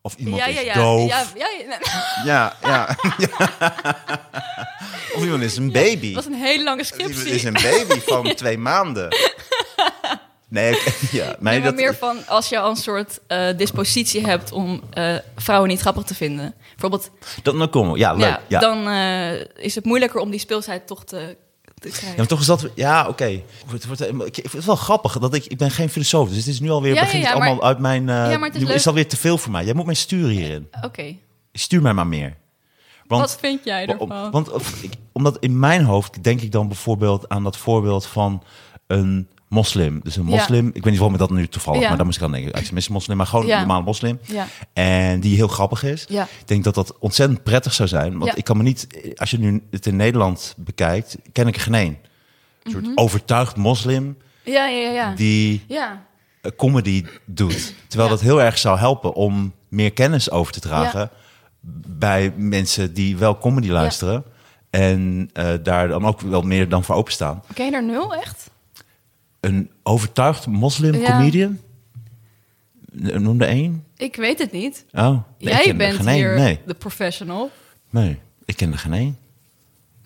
Speaker 2: Of iemand
Speaker 3: ja, ja,
Speaker 2: is
Speaker 3: ja.
Speaker 2: doof.
Speaker 3: ja, ja, ja.
Speaker 2: Ja, ja. of iemand is een baby.
Speaker 3: Het was een hele lange
Speaker 2: Het
Speaker 3: scriptie.
Speaker 2: is een baby van twee maanden. Nee, ik- ja, nee,
Speaker 3: Nee, maar
Speaker 2: dat,
Speaker 3: meer van als je al een soort eh, dispositie hebt om eh, vrouwen niet grappig te vinden. Bijvoorbeeld,
Speaker 2: dat dan komen. we. Ja, leuk. Ja,
Speaker 3: ja, dan eh, is het moeilijker om die speelsheid toch te, te krijgen.
Speaker 2: Ja, maar toch is dat. Ja, oké. Het, wordt, ik, ik vind het wel grappig dat ik. Ik ben geen filosoof, dus het is nu alweer.
Speaker 3: Ja, ja,
Speaker 2: begint
Speaker 3: ja,
Speaker 2: het allemaal
Speaker 3: maar-
Speaker 2: uit mijn. eh
Speaker 3: Ja, maar het is
Speaker 2: nu
Speaker 3: leuk.
Speaker 2: is alweer te veel voor mij. Jij moet mij sturen hierin.
Speaker 3: Oké,
Speaker 2: Stuur mij maar meer. Want,
Speaker 3: wat vind jij
Speaker 2: Wa- om-
Speaker 3: ervan?
Speaker 2: want of- ik- omdat in mijn hoofd denk ik dan bijvoorbeeld aan dat voorbeeld van een moslim. Dus een
Speaker 3: Ja.
Speaker 2: moslim, ik weet niet waarom ik dat nu toevallig,
Speaker 3: Ja.
Speaker 2: maar daar moest ik aan denken. Extremist moslim, maar gewoon
Speaker 3: Ja.
Speaker 2: een normale moslim.
Speaker 3: Ja.
Speaker 2: En die heel grappig is.
Speaker 3: Ja.
Speaker 2: Ik denk dat dat ontzettend prettig zou zijn. Want
Speaker 3: Ja.
Speaker 2: ik kan me niet, als je nu het in Nederland bekijkt, ken ik er geen één. Een soort
Speaker 3: Mhm.
Speaker 2: overtuigd moslim
Speaker 3: ja, ja, ja. Ja.
Speaker 2: die
Speaker 3: ja.
Speaker 2: eh, comedy doet. Terwijl
Speaker 3: Ja.
Speaker 2: dat heel erg zou helpen om meer kennis over te dragen bij mensen die wel comedy luisteren. En eh, daar dan ook wel meer dan voor openstaan.
Speaker 3: Ken je er nul echt?
Speaker 2: Een overtuigd moslim
Speaker 3: Ja.
Speaker 2: comedian? N- Noem er één.
Speaker 3: Ik weet het niet.
Speaker 2: Oh, nee, ik ken
Speaker 3: jij
Speaker 2: er
Speaker 3: bent
Speaker 2: geen één.
Speaker 3: hier
Speaker 2: Nee,
Speaker 3: de professional.
Speaker 2: nee, ik ken er geen één.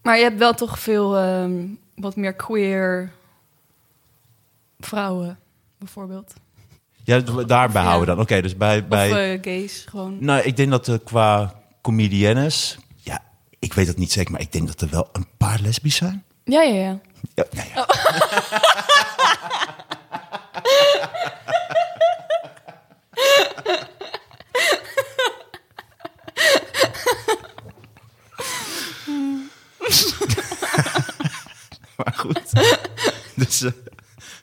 Speaker 3: Maar je hebt wel toch veel ehm, wat meer queer vrouwen, bijvoorbeeld.
Speaker 2: Ja, d- daarbij
Speaker 3: Ja.
Speaker 2: houden we dan. Oké, dus bij... bij...
Speaker 3: Of eh, gays, gewoon.
Speaker 2: Nou, ik denk dat eh, qua comediennes... Ja, ik weet het niet zeker, maar ik denk dat er wel een paar lesbisch zijn.
Speaker 3: Ja, ja, ja.
Speaker 2: Ja, nou
Speaker 3: Oh.
Speaker 2: ja.
Speaker 3: Frans.
Speaker 2: Maar goed. dus, eh,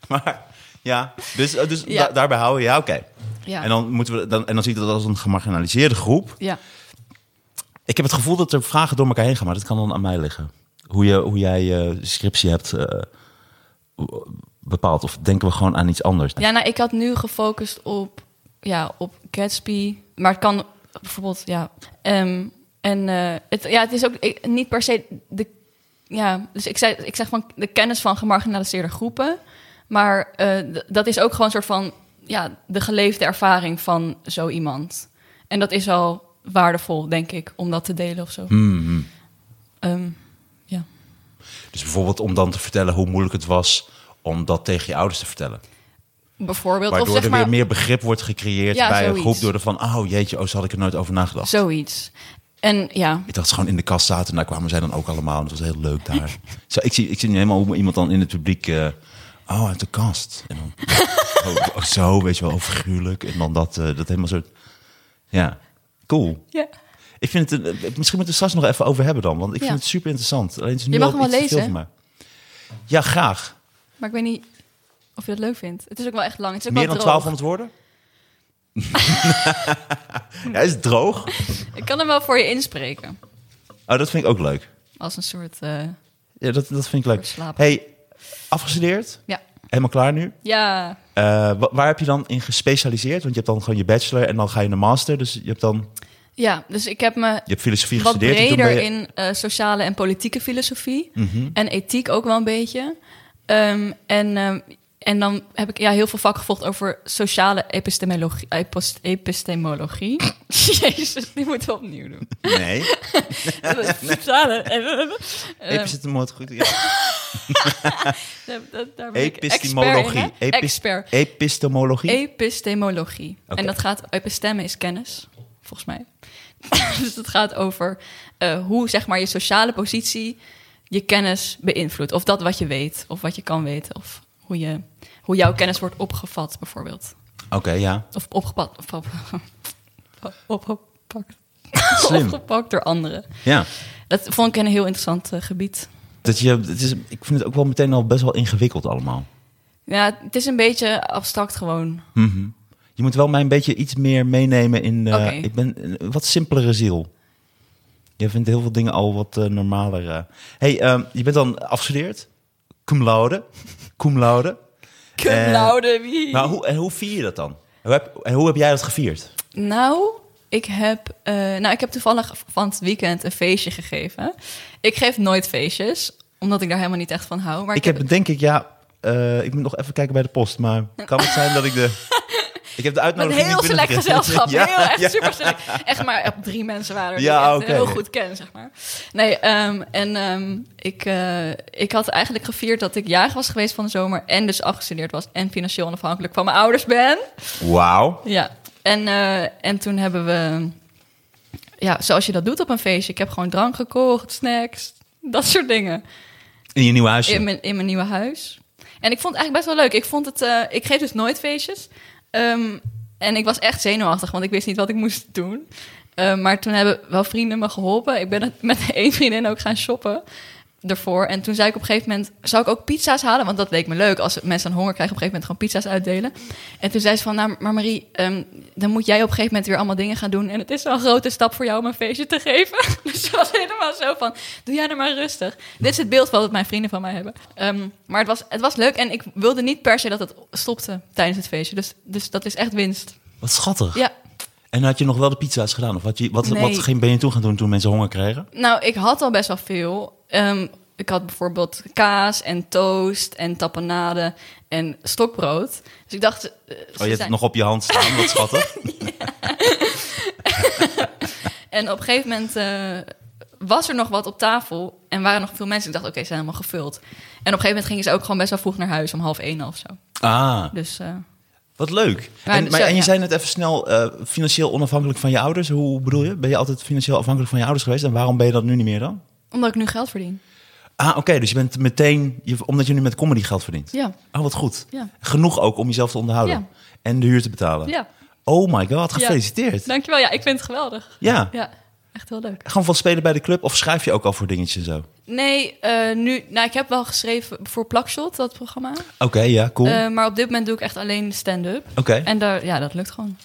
Speaker 2: maar ja, dus, eh, dus
Speaker 3: Ja.
Speaker 2: da- daarbij houden. Ja, oké.
Speaker 3: Ja.
Speaker 2: En dan moeten we dan, en dan zie je dat als een gemarginaliseerde groep.
Speaker 3: ja.
Speaker 2: Ik heb het gevoel dat er vragen door elkaar heen gaan, maar dat kan dan aan mij liggen. Hoe, je, hoe jij je scriptie hebt eh, bepaald. Of denken we gewoon aan iets anders?
Speaker 3: ja, nou, ik had nu gefocust op, ja, op Gatsby. Maar het kan bijvoorbeeld, ja. ehm, en eh, het, ja, het is ook ik- niet per se de. Ja, dus ik, zei, ik zeg van de kennis van gemarginaliseerde groepen. Maar eh, d- dat is ook gewoon een soort van ja, de geleefde ervaring van zo iemand. En dat is al waardevol, denk ik, om dat te delen of zo.
Speaker 2: Mm-hmm.
Speaker 3: Ehm, ja.
Speaker 2: Dus bijvoorbeeld om dan te vertellen hoe moeilijk het was om dat tegen je ouders te vertellen.
Speaker 3: Bijvoorbeeld.
Speaker 2: Waardoor
Speaker 3: of zeg
Speaker 2: er
Speaker 3: maar,
Speaker 2: weer meer begrip wordt gecreëerd
Speaker 3: Ja,
Speaker 2: bij een
Speaker 3: zoiets.
Speaker 2: groep. Door er van, oh jeetje, oh, zo had ik er nooit over nagedacht.
Speaker 3: Zoiets. En ja,
Speaker 2: Ik dacht ze gewoon in de kast zaten en daar kwamen zij dan ook allemaal. En het was heel leuk daar. Zo, ik, zie, ik zie nu helemaal hoe iemand dan in het publiek... eh, oh, uit de kast. En dan, oh, oh, zo, weet je wel, oh, figuurlijk. En dan dat, eh, dat helemaal zo... Ja, cool.
Speaker 3: ja.
Speaker 2: Ik vind het, een- eh, misschien moeten we het straks nog even over hebben dan. Want ik
Speaker 3: Ja.
Speaker 2: vind het super interessant. Alleen het is nu
Speaker 3: Je mag
Speaker 2: al
Speaker 3: hem wel
Speaker 2: iets te veel
Speaker 3: lezen.
Speaker 2: voor mij. Ja, graag.
Speaker 3: maar ik weet niet of je dat leuk vindt. Het is ook wel echt lang. Het is ook
Speaker 2: Meer
Speaker 3: wel
Speaker 2: dan
Speaker 3: droog.
Speaker 2: 1200 woorden? ja, is het droog?
Speaker 3: Ik kan hem wel voor je inspreken.
Speaker 2: Oh, dat vind ik ook leuk.
Speaker 3: Als een soort... eh,
Speaker 2: Ja, dat, dat vind ik leuk.
Speaker 3: Verslapen.
Speaker 2: Hey, afgestudeerd?
Speaker 3: ja.
Speaker 2: Helemaal klaar nu?
Speaker 3: Ja.
Speaker 2: Eh, wa- waar heb je dan in gespecialiseerd? Want je hebt dan gewoon je bachelor en dan ga je naar master. Dus je hebt dan
Speaker 3: Ja, dus ik heb me
Speaker 2: je hebt filosofie
Speaker 3: wat
Speaker 2: gestudeerd. en toen
Speaker 3: breder
Speaker 2: ben je- Mhm.
Speaker 3: in eh, sociale en politieke filosofie. En ethiek ook wel een beetje. Ehm, en, ehm, en dan heb ik ja, heel veel vak gevolgd over sociale epistemologie. epist- epistemologie. Jezus, die moeten we opnieuw doen.
Speaker 2: Nee,
Speaker 3: Sociale... Eh.
Speaker 2: even zit hem wat goed. Ja.
Speaker 3: Daar- daar- daar ben ik
Speaker 2: Epistemologie.
Speaker 3: Expert. in, hè?
Speaker 2: Epis-
Speaker 3: Expert.
Speaker 2: Epistemologie.
Speaker 3: Epistemologie.
Speaker 2: Oké.
Speaker 3: En dat gaat, episteme is kennis, volgens mij. dus het gaat over eh, hoe zeg maar je sociale positie je kennis beïnvloedt. Of dat wat je weet, of wat je kan weten, of hoe, je, hoe jouw kennis wordt opgevat, bijvoorbeeld.
Speaker 2: Oké, ja.
Speaker 3: Of opgepat, of op, opgepakt. Oh,
Speaker 2: Slim.
Speaker 3: opgepakt door anderen.
Speaker 2: ja.
Speaker 3: Dat vond ik een heel interessant eh, gebied.
Speaker 2: Dat je, het is, ik vind het ook wel meteen al best wel ingewikkeld allemaal.
Speaker 3: Ja, het is een beetje abstract gewoon.
Speaker 2: Je moet wel mij een beetje iets meer meenemen in... eh,
Speaker 3: Oké.
Speaker 2: Ik ben een wat simpelere ziel. Jij vindt heel veel dingen al wat eh, normaler. eh. hey, ehm, je bent dan afgestudeerd. Cum laude. Cum laude.
Speaker 3: Cum
Speaker 2: Eh,
Speaker 3: laude, wie?
Speaker 2: Maar hoe, en hoe vier je dat dan? Hoe heb, en hoe heb jij dat gevierd?
Speaker 3: Nou, ik heb, eh, nou, ik heb toevallig van het weekend een feestje gegeven. Ik geef nooit feestjes, omdat ik daar helemaal niet echt van hou. Maar
Speaker 2: ik heb denk ik, ja, eh, ik moet nog even kijken bij de post, maar kan het zijn dat ik de... Ik heb de
Speaker 3: met
Speaker 2: uitnodiging
Speaker 3: heel
Speaker 2: niet
Speaker 3: select
Speaker 2: binnengekregen.
Speaker 3: gezelschap.
Speaker 2: Ja,
Speaker 3: heel echt
Speaker 2: ja.
Speaker 3: super select. Echt maar op drie mensen waren er die
Speaker 2: Ja,
Speaker 3: ik echt,
Speaker 2: oké.
Speaker 3: eh, heel goed ken, zeg maar. Nee, ehm, en ehm, ik, eh, ik had eigenlijk gevierd dat ik jarig was geweest van de zomer... en dus afgestudeerd was en financieel onafhankelijk van mijn ouders ben.
Speaker 2: Wauw.
Speaker 3: Ja, en, eh, en toen hebben we... Ja, zoals je dat doet op een feestje. Ik heb gewoon drank gekocht, snacks, dat soort dingen.
Speaker 2: In je nieuw huisje.
Speaker 3: In mijn, in mijn nieuwe huis. En ik vond het eigenlijk best wel leuk. Ik, vond het, eh, ik geef dus nooit feestjes. Ehm, en ik was echt zenuwachtig, want ik wist niet wat ik moest doen. Ehm, maar toen hebben wel vrienden me geholpen. Ik ben met één vriendin ook gaan shoppen ervoor. En toen zei ik op een gegeven moment, zou ik ook pizza's halen? Want dat leek me leuk, als mensen aan honger krijgen, op een gegeven moment gewoon pizza's uitdelen. En toen zei ze van, nou, maar Marie, ehm, dan moet jij op een gegeven moment weer allemaal dingen gaan doen. En het is wel een grote stap voor jou om een feestje te geven. dus ze was helemaal zo van, doe jij nou maar rustig. Dit is het beeld wat mijn vrienden van mij hebben. Ehm, maar het was, het was leuk en ik wilde niet per se dat het stopte tijdens het feestje. Dus, dus dat is echt winst.
Speaker 2: Wat schattig.
Speaker 3: Ja,
Speaker 2: En had je nog wel de pizza's gedaan? Of had je, wat,
Speaker 3: Nee.
Speaker 2: wat ging, ben je toen gaan doen toen mensen honger kregen?
Speaker 3: nou, ik had al best wel veel. Ehm, ik had bijvoorbeeld kaas en toast en tapenade en stokbrood. Dus ik dacht... eh, ze
Speaker 2: Oh, je hebt het
Speaker 3: zijn-
Speaker 2: nog op je hand staan, wat schattig.
Speaker 3: En op een gegeven moment eh, was er nog wat op tafel en waren nog veel mensen. Ik dacht, oké, ze zijn helemaal gevuld. En op een gegeven moment gingen ze ook gewoon best wel vroeg naar huis, om half één of zo.
Speaker 2: Ah,
Speaker 3: Dus eh,
Speaker 2: wat leuk.
Speaker 3: Maar
Speaker 2: en,
Speaker 3: zo,
Speaker 2: maar, en je
Speaker 3: ja.
Speaker 2: zei net even snel, eh, financieel onafhankelijk van je ouders. Hoe bedoel je? Ben je altijd financieel afhankelijk van je ouders geweest? En waarom ben je dat nu niet meer dan?
Speaker 3: omdat ik nu geld verdien.
Speaker 2: Ah, oké, dus je bent meteen, je, omdat je nu met comedy geld verdient.
Speaker 3: Ja,
Speaker 2: Oh, wat goed.
Speaker 3: Ja.
Speaker 2: Genoeg ook om jezelf te onderhouden.
Speaker 3: Ja.
Speaker 2: En de huur te betalen.
Speaker 3: ja. Nou.
Speaker 2: Oh my god, gefeliciteerd. Ja,
Speaker 3: Dankjewel, ja, ik vind het geweldig. Ja, Echt heel leuk.
Speaker 2: Gewoon van spelen bij de club of schrijf je ook al voor dingetjes en zo? Oké,
Speaker 3: Nee, eh, nu, nou, ik heb wel geschreven voor Plakshot, dat programma.
Speaker 2: ja, cool.
Speaker 3: Eh, maar op dit moment doe ik echt alleen stand-up.
Speaker 2: Oké.
Speaker 3: En daar, ja, dat lukt gewoon.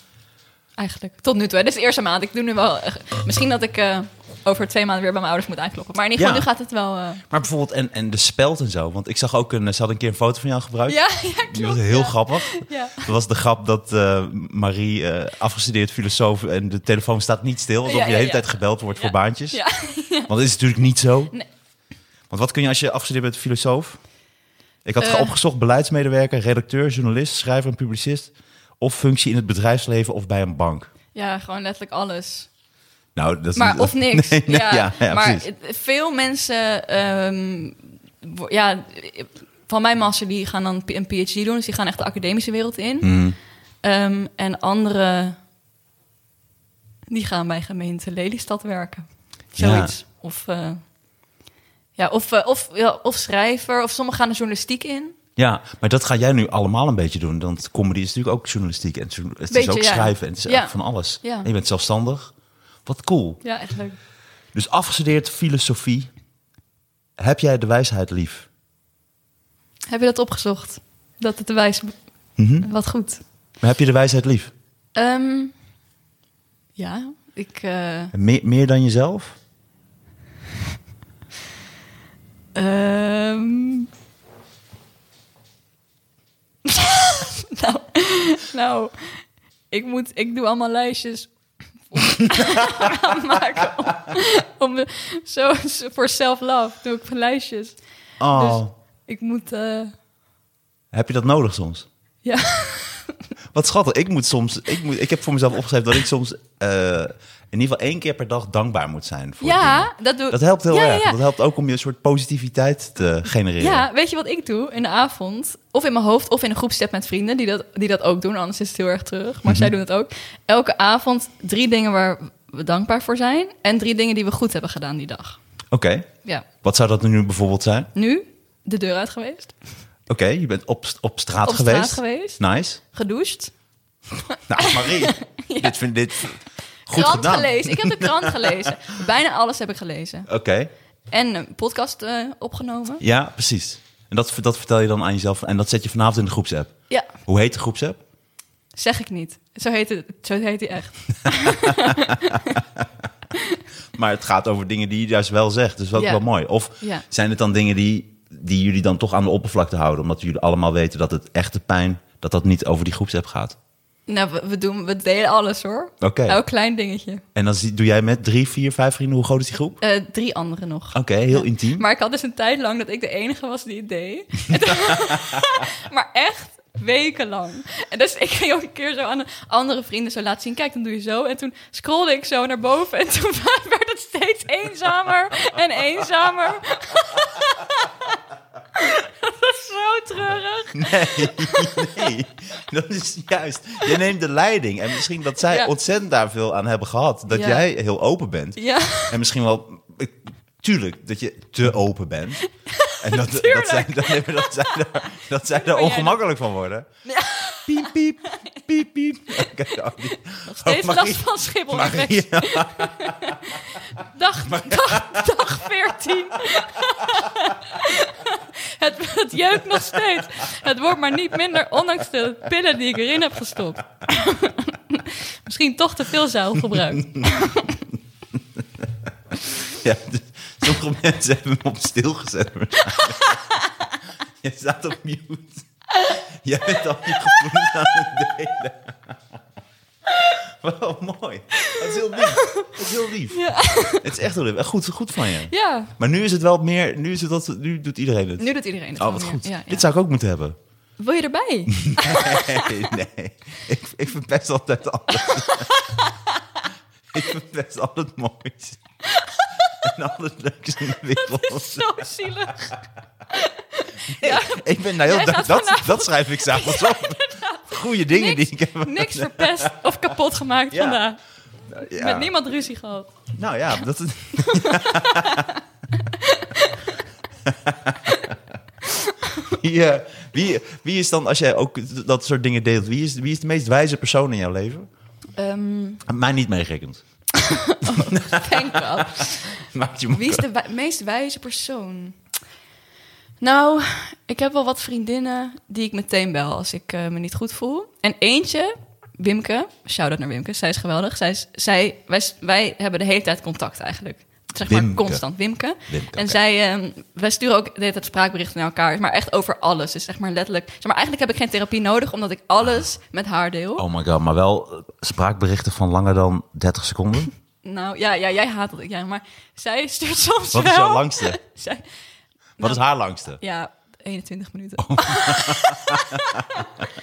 Speaker 3: Eigenlijk. Tot nu toe. hè. Dit is de eerste maand. Ik doe nu wel. echt- Misschien dat ik eh, over twee maanden weer bij mijn ouders moet aankloppen. Maar in ieder geval,
Speaker 2: Ja.
Speaker 3: nu gaat het wel. eh,
Speaker 2: Maar bijvoorbeeld, en, en de speld en zo. Want ik zag ook een, ze hadden een keer een foto van jou gebruikt.
Speaker 3: Ja, ja, klopt.
Speaker 2: Die was heel
Speaker 3: ja.
Speaker 2: grappig.
Speaker 3: Ja.
Speaker 2: Dat was de grap dat eh, Marie, eh, afgestudeerd filosoof, en de telefoon staat niet stil. Alsof
Speaker 3: Ja,
Speaker 2: je de
Speaker 3: ja,
Speaker 2: hele
Speaker 3: ja.
Speaker 2: tijd gebeld wordt voor
Speaker 3: Ja.
Speaker 2: baantjes.
Speaker 3: Ja.
Speaker 2: Want dat is natuurlijk niet zo.
Speaker 3: Nee.
Speaker 2: Want wat kun je als je afgestudeerd bent filosoof? Ik had
Speaker 3: Eh.
Speaker 2: opgezocht beleidsmedewerker, redacteur, journalist, schrijver en publicist. Of functie in het bedrijfsleven of bij een bank.
Speaker 3: ja, gewoon letterlijk alles.
Speaker 2: Nou, dat is
Speaker 3: Maar
Speaker 2: niet-
Speaker 3: of niks.
Speaker 2: Nee, nee,
Speaker 3: ja,
Speaker 2: ja, ja,
Speaker 3: maar
Speaker 2: precies.
Speaker 3: het- veel mensen ehm, wo- ja, van mijn master die gaan dan een PhD doen. Dus die gaan echt de academische wereld in.
Speaker 2: Mm-hmm.
Speaker 3: Ehm, en anderen die gaan bij gemeente Lelystad werken.
Speaker 2: Ja.
Speaker 3: Zoiets. Of, eh, ja, of, eh, of, ja, of schrijver. Of sommigen gaan de journalistiek in.
Speaker 2: Ja, maar dat ga jij nu allemaal een beetje doen. Want comedy is natuurlijk ook journalistiek. En het is
Speaker 3: Beetje,
Speaker 2: ook
Speaker 3: ja.
Speaker 2: schrijven. En het is
Speaker 3: Ja.
Speaker 2: ook van alles.
Speaker 3: Ja.
Speaker 2: En je bent zelfstandig. Wat cool.
Speaker 3: Ja, echt leuk.
Speaker 2: Dus afgestudeerd filosofie. Heb jij de wijsheid lief?
Speaker 3: Heb je dat opgezocht? Dat het de wijs...
Speaker 2: Mhm.
Speaker 3: Wat goed.
Speaker 2: Maar heb je de wijsheid lief?
Speaker 3: Ehm, ja, ik... eh,
Speaker 2: Meer, meer dan jezelf?
Speaker 3: Ehm. nou, nou, ik, moet, ik doe allemaal lijstjes maken om, om de- zo zo voor self-love doe ik lijstjes.
Speaker 2: Oh,
Speaker 3: Dus- Ik moet, eh,
Speaker 2: heb je dat nodig soms?
Speaker 3: ja,
Speaker 2: Wat schattig. Ik moet soms. Ik, moet, ik heb voor mezelf opgeschreven dat ik soms. eh, in ieder geval één keer per dag dankbaar moet zijn. Voor dingen.
Speaker 3: ja, dat doe ik.
Speaker 2: Dat helpt heel
Speaker 3: Ja, ja,
Speaker 2: erg.
Speaker 3: ja.
Speaker 2: Dat helpt ook om je een soort positiviteit te genereren.
Speaker 3: Ja, weet je wat ik doe in de avond? Of in mijn hoofd, of in een groepstep met vrienden die dat, die dat ook doen. Anders is het heel erg terug. Maar
Speaker 2: Mhm.
Speaker 3: zij doen het ook. Elke avond drie dingen waar we dankbaar voor zijn. En drie dingen die we goed hebben gedaan die dag.
Speaker 2: Oké.
Speaker 3: Ja.
Speaker 2: Wat zou dat nu bijvoorbeeld zijn?
Speaker 3: Nu, de deur uit geweest.
Speaker 2: Oké, je bent op, op straat
Speaker 3: Op straat
Speaker 2: geweest.
Speaker 3: geweest.
Speaker 2: Nice.
Speaker 3: Gedoucht.
Speaker 2: Nou, Marie, dit vind dit goed
Speaker 3: krant
Speaker 2: gedaan.
Speaker 3: gelezen. Ik heb de krant gelezen. Bijna alles heb ik gelezen.
Speaker 2: Oké,
Speaker 3: En een podcast eh, opgenomen.
Speaker 2: ja, precies. En dat, dat vertel je dan aan jezelf en dat zet je vanavond in de groepsapp.
Speaker 3: Ja,
Speaker 2: Hoe heet de groepsapp?
Speaker 3: zeg ik niet. Zo heet, het, zo heet hij echt.
Speaker 2: Maar het gaat over dingen die je juist wel zegt, dus dat is
Speaker 3: Ja.
Speaker 2: wel mooi. Of
Speaker 3: Ja.
Speaker 2: zijn het dan dingen die, die jullie dan toch aan de oppervlakte houden... omdat jullie allemaal weten dat het echte pijn, dat dat niet over die groepsapp gaat?
Speaker 3: Nou, we, we doen, we delen alles hoor.
Speaker 2: Oké.
Speaker 3: Elk klein dingetje.
Speaker 2: En dan zie- doe jij met drie, vier, vijf vrienden, hoe groot is die groep?
Speaker 3: Eh, drie anderen nog.
Speaker 2: Oké, heel intiem.
Speaker 3: Maar ik had dus een tijd lang dat ik de enige was die het deed. En toen- maar echt wekenlang. En dus ik ging ook een keer zo aan andere vrienden zo laten zien. Kijk, dan doe je zo. En toen scrolde ik zo naar boven. En toen werd het steeds eenzamer en eenzamer. Dat is zo treurig.
Speaker 2: Nee, nee, dat is juist. Je neemt de leiding. En misschien dat zij
Speaker 3: Ja.
Speaker 2: ontzettend daar veel aan hebben gehad. Dat
Speaker 3: Ja.
Speaker 2: jij heel open bent.
Speaker 3: Ja,
Speaker 2: En misschien wel, ik- tuurlijk, dat je te open bent. En dat, dat,
Speaker 3: Tuurlijk.
Speaker 2: zij, dat, nee, maar dat, zij, daar, dat zij daar
Speaker 3: jij
Speaker 2: ongemakkelijk van worden. Piep, piep, piep, piep. Oké, oh, die-
Speaker 3: nog steeds
Speaker 2: Oh, Marie-
Speaker 3: last van Schiphol.
Speaker 2: Maria.
Speaker 3: Dag, dag, dag 14. het, het jeukt nog steeds. Het wordt maar niet minder, ondanks de pillen die ik erin heb gestopt. Misschien toch te veel zuil gebruikt.
Speaker 2: Ja, dus sommige mensen hebben hem op stil gezet. waarschijnlijk. Je staat op mute. Jij bent al je gevoelens aan het delen. Wel mooi. Dat is heel lief. Dat is heel lief.
Speaker 3: Ja.
Speaker 2: Het is echt heel lief. Echt Goed, goed van je.
Speaker 3: Ja,
Speaker 2: Maar nu is het wel meer... Nu, is het dat, nu doet iedereen het.
Speaker 3: nu doet iedereen het
Speaker 2: Oh,
Speaker 3: wel
Speaker 2: wat
Speaker 3: meer.
Speaker 2: goed.
Speaker 3: Ja, ja.
Speaker 2: Dit zou ik ook moeten hebben.
Speaker 3: Wil je erbij?
Speaker 2: Nee, nee. Ik, ik verpest altijd alles. ik verpest al het moois. en al het leuks in de wereld.
Speaker 3: Zo zielig. Ja,
Speaker 2: Ik ben nou heel
Speaker 3: Jij
Speaker 2: dat,
Speaker 3: gaat
Speaker 2: dat,
Speaker 3: vanavond-
Speaker 2: dat schrijf ik s'avonds op. Goede dingen
Speaker 3: niks,
Speaker 2: die ik heb.
Speaker 3: niks verpest of kapot gemaakt
Speaker 2: Ja.
Speaker 3: vandaag.
Speaker 2: Ja.
Speaker 3: Met niemand ruzie gehad.
Speaker 2: Nou ja, dat is. wie, eh, wie, wie is dan, als jij ook dat soort dingen deelt, wie is, wie is de meest wijze persoon in jouw leven?
Speaker 3: Ehm,
Speaker 2: Mij niet meegerekend.
Speaker 3: Thank God.
Speaker 2: Maakt je
Speaker 3: Wie is de wij- meest wijze persoon? Nou, ik heb wel wat vriendinnen die ik meteen bel als ik eh, me niet goed voel. En eentje, Wimke, shout-out naar Wimke, zij is geweldig. Zij is, zij, wij, s- wij hebben de hele tijd contact eigenlijk. Zeg maar
Speaker 2: Wimke.
Speaker 3: constant, Wimke.
Speaker 2: Wimke,
Speaker 3: en
Speaker 2: oké.
Speaker 3: zij, ehm, wij sturen ook de hele tijd spraakberichten naar elkaar, maar echt over alles. Dus zeg maar letterlijk, zeg maar eigenlijk heb ik geen therapie nodig, omdat ik alles met haar deel.
Speaker 2: Oh my god, maar wel eh, spraakberichten van langer dan 30 seconden?
Speaker 3: Nou, ja, ja, jij haat dat ik, ja, maar zij stuurt soms
Speaker 2: Wat
Speaker 3: wel.
Speaker 2: is jouw langste?
Speaker 3: Zij,
Speaker 2: Wat is haar langste?
Speaker 3: Ja, 21 minuten.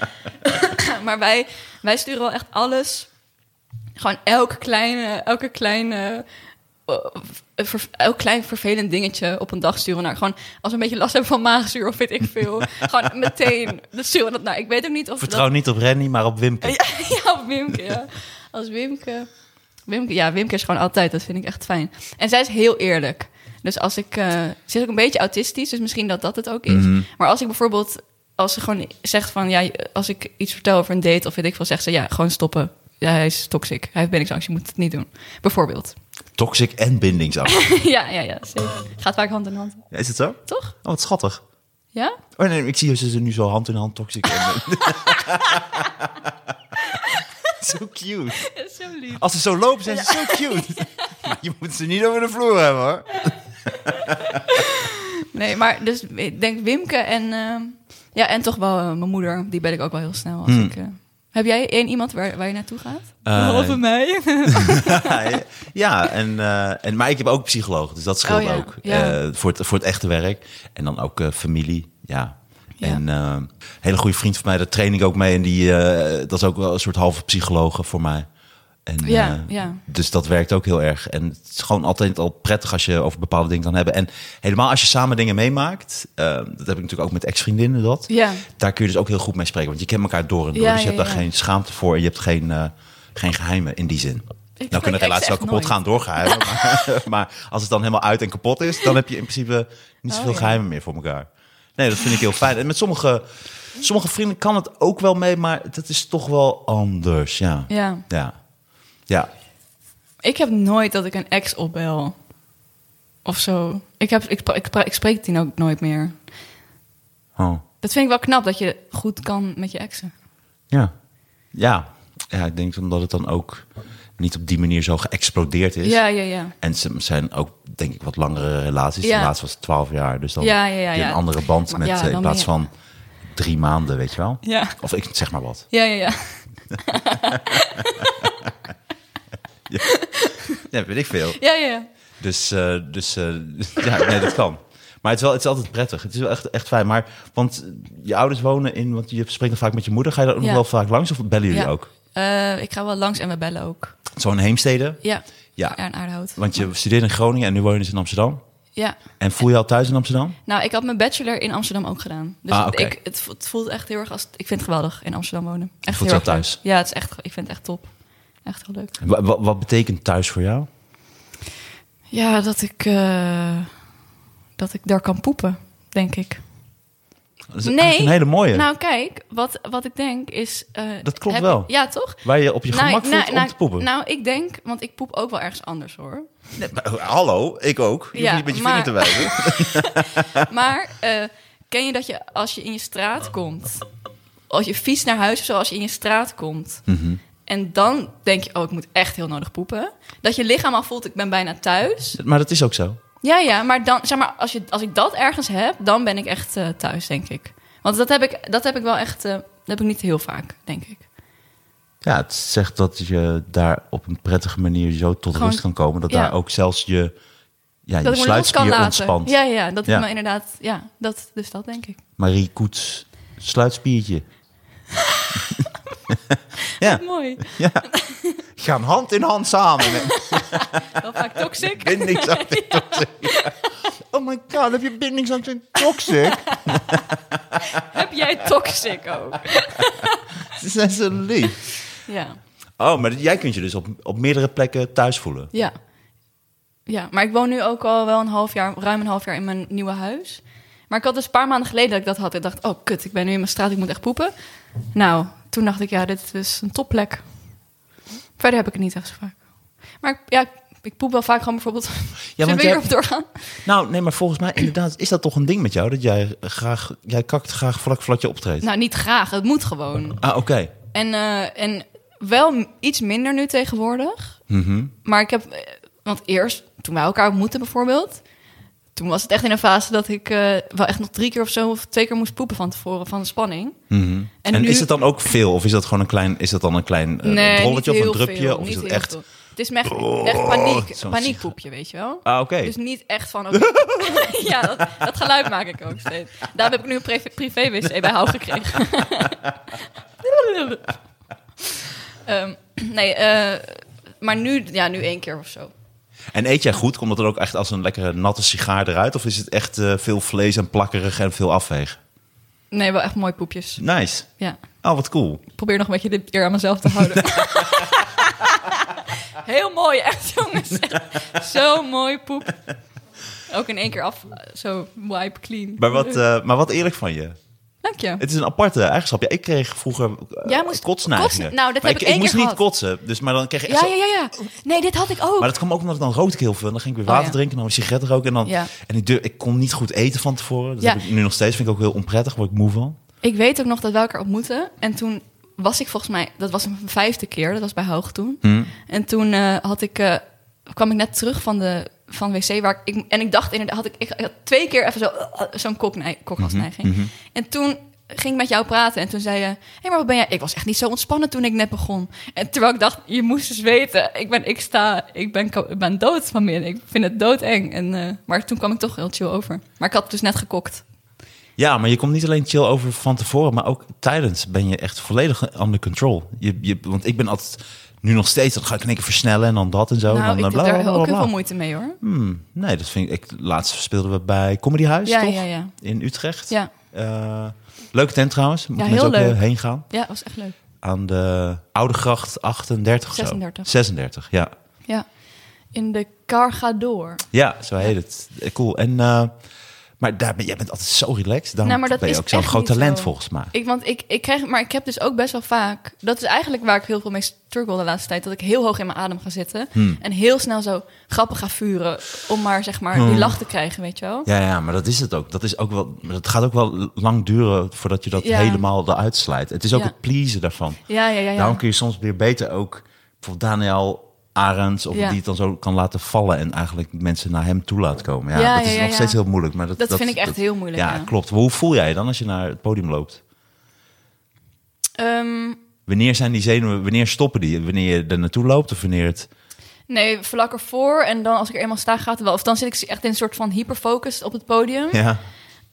Speaker 3: maar wij, wij sturen wel echt alles. Gewoon elk kleine, elke kleine, eh, ver- elk klein vervelend dingetje op een dag sturen we naar. Gewoon als we een beetje last hebben van maagzuur of weet ik veel. gewoon meteen. Dat sturen we dat naar. Ik weet ook niet of
Speaker 2: Vertrouw niet op Rennie, maar op Wimke.
Speaker 3: dat... Ja, ja, op Wimke. Ja. Als Wimke... Wimke, ja, Wimke is gewoon altijd. Dat vind ik echt fijn. En zij is heel eerlijk. Dus als ik... eh, ze is ook een beetje autistisch, dus misschien dat dat het ook is. Maar als ik bijvoorbeeld... Als ze gewoon zegt van... Ja, als ik iets vertel over een date of weet ik veel... Zegt ze, ja, gewoon stoppen. Ja, hij is toxic. Hij heeft bindingsangst. Je moet het niet doen. Bijvoorbeeld.
Speaker 2: Toxic en bindingsangst.
Speaker 3: ja, ja, ja. Zeker. Gaat vaak hand in hand.
Speaker 2: Ja, is het zo?
Speaker 3: Toch?
Speaker 2: Oh, wat schattig.
Speaker 3: Ja?
Speaker 2: Oh nee, ik zie ze nu zo hand in hand toxic. en- zo cute.
Speaker 3: Zo lief.
Speaker 2: Als ze zo lopen, zijn ze zo cute. maar je moet ze niet over de vloer hebben hoor.
Speaker 3: Nee, maar dus ik denk Wimke en, ehm, ja, en toch wel eh, mijn moeder. Die bel ik ook wel heel snel. Als ik, eh, heb jij één iemand waar, waar je naartoe gaat?
Speaker 2: Hmm. Eh,
Speaker 3: Behalve mij.
Speaker 2: ja, en, eh, en, maar ik heb ook psycholoog, dus dat scheelt
Speaker 3: Oh ja,
Speaker 2: ook.
Speaker 3: ja.
Speaker 2: Eh, voor, het, voor het echte werk. En dan ook eh, familie, ja.
Speaker 3: Ja.
Speaker 2: En eh, een hele goede vriend van mij, daar train ik ook mee. En die, eh, dat is ook wel een soort halve psychologe voor mij. En,
Speaker 3: Ja,
Speaker 2: eh,
Speaker 3: ja.
Speaker 2: Dus dat werkt ook heel erg. En het is gewoon altijd al prettig als je over bepaalde dingen kan hebben. En helemaal als je samen dingen meemaakt. eh, dat heb ik natuurlijk ook met ex-vriendinnen dat.
Speaker 3: Ja.
Speaker 2: Daar kun je dus ook heel goed mee spreken. Want je kent elkaar door en door.
Speaker 3: Ja,
Speaker 2: dus je
Speaker 3: ja,
Speaker 2: hebt
Speaker 3: ja.
Speaker 2: daar geen schaamte voor. En je hebt geen, eh, geen geheimen in die zin.
Speaker 3: Ik
Speaker 2: Nou
Speaker 3: spreek
Speaker 2: kunnen relaties
Speaker 3: exen
Speaker 2: wel kapot
Speaker 3: echt nooit.
Speaker 2: gaan doorgeheimen. maar, maar als het dan helemaal uit en kapot is, dan heb je in principe niet
Speaker 3: Oh,
Speaker 2: zoveel
Speaker 3: ja.
Speaker 2: geheimen meer voor elkaar. Nee, dat vind ik heel fijn. En met sommige, sommige vrienden kan het ook wel mee, maar dat is toch wel anders. Ja.
Speaker 3: Ja.
Speaker 2: Ja. ja.
Speaker 3: Ik heb nooit dat ik een ex opbel. Of zo. Ik, heb, ik, pra- ik, pra- ik spreek die ook nooit meer.
Speaker 2: Oh.
Speaker 3: Dat vind ik wel knap, dat je goed kan met je exen.
Speaker 2: Ja. ja. Ja, ik denk omdat het dan ook niet op die manier zo geëxplodeerd is.
Speaker 3: Ja, ja, ja.
Speaker 2: En ze zijn ook, denk ik, wat langere relaties.
Speaker 3: Ja.
Speaker 2: De laatste was 12 jaar. Dus dan
Speaker 3: Ja, ja, ja,
Speaker 2: heb je een
Speaker 3: ja.
Speaker 2: andere band
Speaker 3: Maar
Speaker 2: met,
Speaker 3: ja,
Speaker 2: eh, in
Speaker 3: dan
Speaker 2: plaats
Speaker 3: meer.
Speaker 2: van drie maanden, weet je wel?
Speaker 3: Ja.
Speaker 2: Of ik zeg maar wat.
Speaker 3: Ja, ja, ja.
Speaker 2: Ja, weet ik veel.
Speaker 3: Ja, ja, ja.
Speaker 2: Dus, eh, dus eh, ja, nee, dat kan. Maar het is, wel, het is altijd prettig. Het is wel echt, echt fijn. Maar, want je ouders wonen in, want je spreekt dan vaak met je moeder. Ga je daar ook
Speaker 3: Ja.
Speaker 2: nog wel vaak langs of bellen jullie
Speaker 3: Ja.
Speaker 2: ook?
Speaker 3: Eh, ik ga wel langs en we bellen ook.
Speaker 2: Zo'n heemstede.
Speaker 3: Ja.
Speaker 2: Ja.
Speaker 3: en Aardhout.
Speaker 2: Want je studeert in Groningen en nu woon je dus in Amsterdam.
Speaker 3: Ja.
Speaker 2: En voel je al thuis in Amsterdam?
Speaker 3: Nou, ik had mijn bachelor in Amsterdam ook gedaan. Dus
Speaker 2: Ah, oké.
Speaker 3: ik, het, vo- het voelt echt heel erg als... Ik vind het geweldig in Amsterdam wonen. Echt
Speaker 2: voelt
Speaker 3: heel
Speaker 2: je wel
Speaker 3: erg
Speaker 2: thuis?
Speaker 3: leuk. Ja, het is echt, ik vind het echt top. Echt heel leuk.
Speaker 2: Wa- wa- wat betekent thuis voor jou?
Speaker 3: Ja, dat ik, eh, dat ik daar kan poepen, denk ik.
Speaker 2: Dat is eigenlijk een hele mooie.
Speaker 3: Nou, kijk, wat, wat ik denk is... eh,
Speaker 2: Oh Dat klopt
Speaker 3: heb
Speaker 2: wel.
Speaker 3: ik- ja, toch?
Speaker 2: waar je op je gemak voelt om te poepen.
Speaker 3: Nou, ik denk, want ik poep ook wel ergens anders hoor.
Speaker 2: Nee, maar, Nou, hallo, ik ook. Je
Speaker 3: Ja,
Speaker 2: hoeft niet met je
Speaker 3: maar-
Speaker 2: vinger te wijzen.
Speaker 3: Maar eh, ken je dat je als je in je straat komt, als je fiets naar huis of zo, als je in je straat komt, en dan denk je, oh, ik moet echt heel nodig poepen, dat je lichaam al voelt, ik ben bijna thuis.
Speaker 2: maar dat is ook zo.
Speaker 3: Ja, ja, maar dan, zeg maar, als, je, als ik dat ergens heb, dan ben ik echt eh, thuis, denk ik. Want dat heb ik, dat heb ik wel echt, eh, dat heb ik niet heel vaak, denk ik.
Speaker 2: Ja, het zegt dat je daar op een prettige manier zo tot
Speaker 3: Gewoon-
Speaker 2: rust kan komen. Dat
Speaker 3: ja.
Speaker 2: daar ook zelfs je, ja,
Speaker 3: Dat
Speaker 2: je
Speaker 3: ik me los kan
Speaker 2: sluitspier
Speaker 3: laten.
Speaker 2: ontspant.
Speaker 3: Ja, ja, dat
Speaker 2: Ja.
Speaker 3: ik me inderdaad, ja, dat, dus dat denk ik.
Speaker 2: Marie Koets, sluitspiertje. ja,
Speaker 3: Mooi.
Speaker 2: ja, gaan hand in hand samen.
Speaker 3: Wel vaak toxic.
Speaker 2: Bindingsangst en toxic. Oh my god, heb je bindingsangst en toxic?
Speaker 3: heb jij toxic ook?
Speaker 2: Ze zijn zo lief.
Speaker 3: Ja.
Speaker 2: Oh, maar jij kunt je dus op, op meerdere plekken thuis voelen.
Speaker 3: Ja. Ja, maar ik woon nu ook al wel een half jaar, ruim een half jaar in mijn nieuwe huis. Maar ik had dus een paar maanden geleden dat ik dat had. Ik dacht, oh kut, ik ben nu in mijn straat, ik moet echt poepen. dus Nou, toen dacht ik, ja, dit is een topplek. Verder heb ik het niet echt zo vaak. Maar ik- ja, ik poep wel vaak gewoon bijvoorbeeld. Ja, Zullen
Speaker 2: want
Speaker 3: we
Speaker 2: jij-
Speaker 3: hierop doorgaan?
Speaker 2: Nou, nee, maar volgens mij inderdaad is dat toch een ding met jou? Dat jij graag, jij kakt graag vlak vlak je optreedt.
Speaker 3: Nou, niet graag. Het moet gewoon.
Speaker 2: Ah, oké.
Speaker 3: En, eh, en wel m- iets minder nu tegenwoordig.
Speaker 2: Mhm.
Speaker 3: Maar ik heb... eh, Want eerst, toen wij elkaar ontmoetten bijvoorbeeld... Toen was het echt in een fase dat ik eh, wel echt nog drie keer of zo... of twee keer moest poepen van tevoren van de spanning.
Speaker 2: Mhm. En,
Speaker 3: En nu-
Speaker 2: is het dan ook veel? Of is dat gewoon een klein, is dat dan een klein eh,
Speaker 3: niet
Speaker 2: drolletje of een
Speaker 3: heel
Speaker 2: drupje?
Speaker 3: veel,
Speaker 2: of is
Speaker 3: niet
Speaker 2: het
Speaker 3: heel
Speaker 2: echt...
Speaker 3: veel. Oh. Het is me echt, echt paniek,
Speaker 2: zo'n
Speaker 3: paniekpoepje, weet je wel?
Speaker 2: Ah, oké.
Speaker 3: Dus niet echt van... oké. ja, dat, dat geluid maak ik ook steeds. Daarom heb ik nu een privé- privé-wc bij Hou gekregen. Ehm, nee, eh, maar nu, ja, nu één keer of zo.
Speaker 2: En eet jij goed? Komt dat er ook echt als een lekkere natte sigaar eruit? Of is het echt eh, veel vlees en plakkerig en veel afwegen?
Speaker 3: Nee, wel echt mooi poepjes.
Speaker 2: Nice.
Speaker 3: Ja,
Speaker 2: Oh, wat cool.
Speaker 3: ik probeer nog een beetje dit eer aan mezelf te houden. Heel mooi, echt jongens. Zo mooi poep. Ook in één keer af, zo wipe clean.
Speaker 2: Maar wat, eh, maar wat eerlijk van je.
Speaker 3: Dank je.
Speaker 2: Het is een aparte eigenschap. Ja, ik kreeg vroeger eh,
Speaker 3: Jij moest
Speaker 2: kotsneigingen.
Speaker 3: kotsen. Nou, dat
Speaker 2: Maar
Speaker 3: heb
Speaker 2: ik,
Speaker 3: ik één
Speaker 2: moest
Speaker 3: keer
Speaker 2: niet
Speaker 3: gehad.
Speaker 2: kotsen. Dus, maar dan kreeg ik echt
Speaker 3: Ja,
Speaker 2: zo-
Speaker 3: ja, ja, ja. Nee, dit had ik ook.
Speaker 2: Maar dat kwam ook omdat ik dan rookte ik heel veel. En dan ging ik weer
Speaker 3: Oh,
Speaker 2: water
Speaker 3: ja.
Speaker 2: drinken en dan een sigaret roken. En, dan,
Speaker 3: Ja.
Speaker 2: en ik, durf, ik kon niet goed eten van tevoren. Dat
Speaker 3: Ja.
Speaker 2: heb ik nu nog steeds. Vind ik ook heel onprettig. Word ik moe van.
Speaker 3: Ik weet ook nog dat we elkaar ontmoetten. En toen was ik volgens mij, dat was mijn vijfde keer, dat was bij Hoog toen. En toen eh, had ik, eh, kwam ik net terug van de van wc waar ik, ik- en ik dacht inderdaad, had ik, ik, ik had twee keer even zo, eh, zo'n koknei- kokhalsneiging.
Speaker 2: Mhm,
Speaker 3: En toen ging ik met jou praten en toen zei je, hé, maar wat ben jij? Ik was echt niet zo ontspannen toen ik net begon. En terwijl ik dacht, je moest eens weten, ik ben, ik sta, ik ben, ko- ik ben dood van binnen. Ik vind het doodeng. En, eh, maar toen kwam ik toch heel chill over. Maar ik had dus net gekokt.
Speaker 2: Oh, Ja, maar je komt niet alleen chill over van tevoren, maar ook tijdens ben je echt volledig under control. Je, je, want ik ben altijd nu nog steeds, dan ga ik in één keer versnellen en dan dat en zo. en dan
Speaker 3: nou,
Speaker 2: eh,
Speaker 3: ik
Speaker 2: bla,
Speaker 3: heb
Speaker 2: bla,
Speaker 3: daar
Speaker 2: bla,
Speaker 3: ook
Speaker 2: bla.
Speaker 3: heel veel moeite mee hoor.
Speaker 2: Hmm, nee, dat vind ik, ik. Laatst speelden we bij Comedy Huis,
Speaker 3: Ja,
Speaker 2: toch?
Speaker 3: ja, ja.
Speaker 2: In Utrecht.
Speaker 3: Ja.
Speaker 2: Eh, leuke tent trouwens. Moet
Speaker 3: Ja,
Speaker 2: mensen
Speaker 3: heel
Speaker 2: ook eh,
Speaker 3: leuk.
Speaker 2: heen gaan.
Speaker 3: Ja, dat was echt leuk.
Speaker 2: Aan de Oude Gracht 38 of
Speaker 3: 36.
Speaker 2: zo. 36, ja.
Speaker 3: Ja. In de Cargador.
Speaker 2: Ja, zo heet het. Eh, Cool. En, eh, maar daar ben, jij bent altijd zo relaxed. Dan
Speaker 3: Nou, maar dat
Speaker 2: ben je
Speaker 3: is
Speaker 2: ook zo'n
Speaker 3: echt
Speaker 2: groot
Speaker 3: niet
Speaker 2: talent
Speaker 3: zo.
Speaker 2: volgens mij.
Speaker 3: Ik, want ik, ik krijg, maar ik heb dus ook best wel vaak. Dat is eigenlijk waar ik heel veel mee struggle de laatste tijd. Dat ik heel hoog in mijn adem ga zitten.
Speaker 2: Hmm.
Speaker 3: En heel snel zo grappen ga vuren. Om maar zeg maar die lach te krijgen, weet je wel.
Speaker 2: Hmm. Ja, ja, maar dat is het ook. Dat is ook wel, het gaat ook wel lang duren voordat je dat
Speaker 3: Ja.
Speaker 2: helemaal eruit slijt. Het is ook
Speaker 3: Ja.
Speaker 2: het pleasen daarvan.
Speaker 3: Ja, ja, ja. ja.
Speaker 2: Daarom kun je soms weer beter ook bijvoorbeeld Daniel Arends, of
Speaker 3: Ja.
Speaker 2: die het dan zo kan laten vallen en eigenlijk mensen naar hem toe laat komen. Ja,
Speaker 3: Ja,
Speaker 2: dat
Speaker 3: ja,
Speaker 2: is
Speaker 3: ja,
Speaker 2: nog
Speaker 3: ja.
Speaker 2: steeds heel moeilijk. Maar dat,
Speaker 3: Dat vind ik echt heel moeilijk,
Speaker 2: Ja,
Speaker 3: ja.
Speaker 2: klopt. Maar hoe voel jij je dan als je naar het podium loopt?
Speaker 3: Ehm,
Speaker 2: Wanneer zijn die zenuwen, wanneer stoppen die? Wanneer je er naartoe loopt of wanneer het...
Speaker 3: nee, vlak ervoor. En dan als ik er eenmaal sta, gaat het wel. Of dan zit ik echt in een soort van hyperfocus op het podium.
Speaker 2: Ja,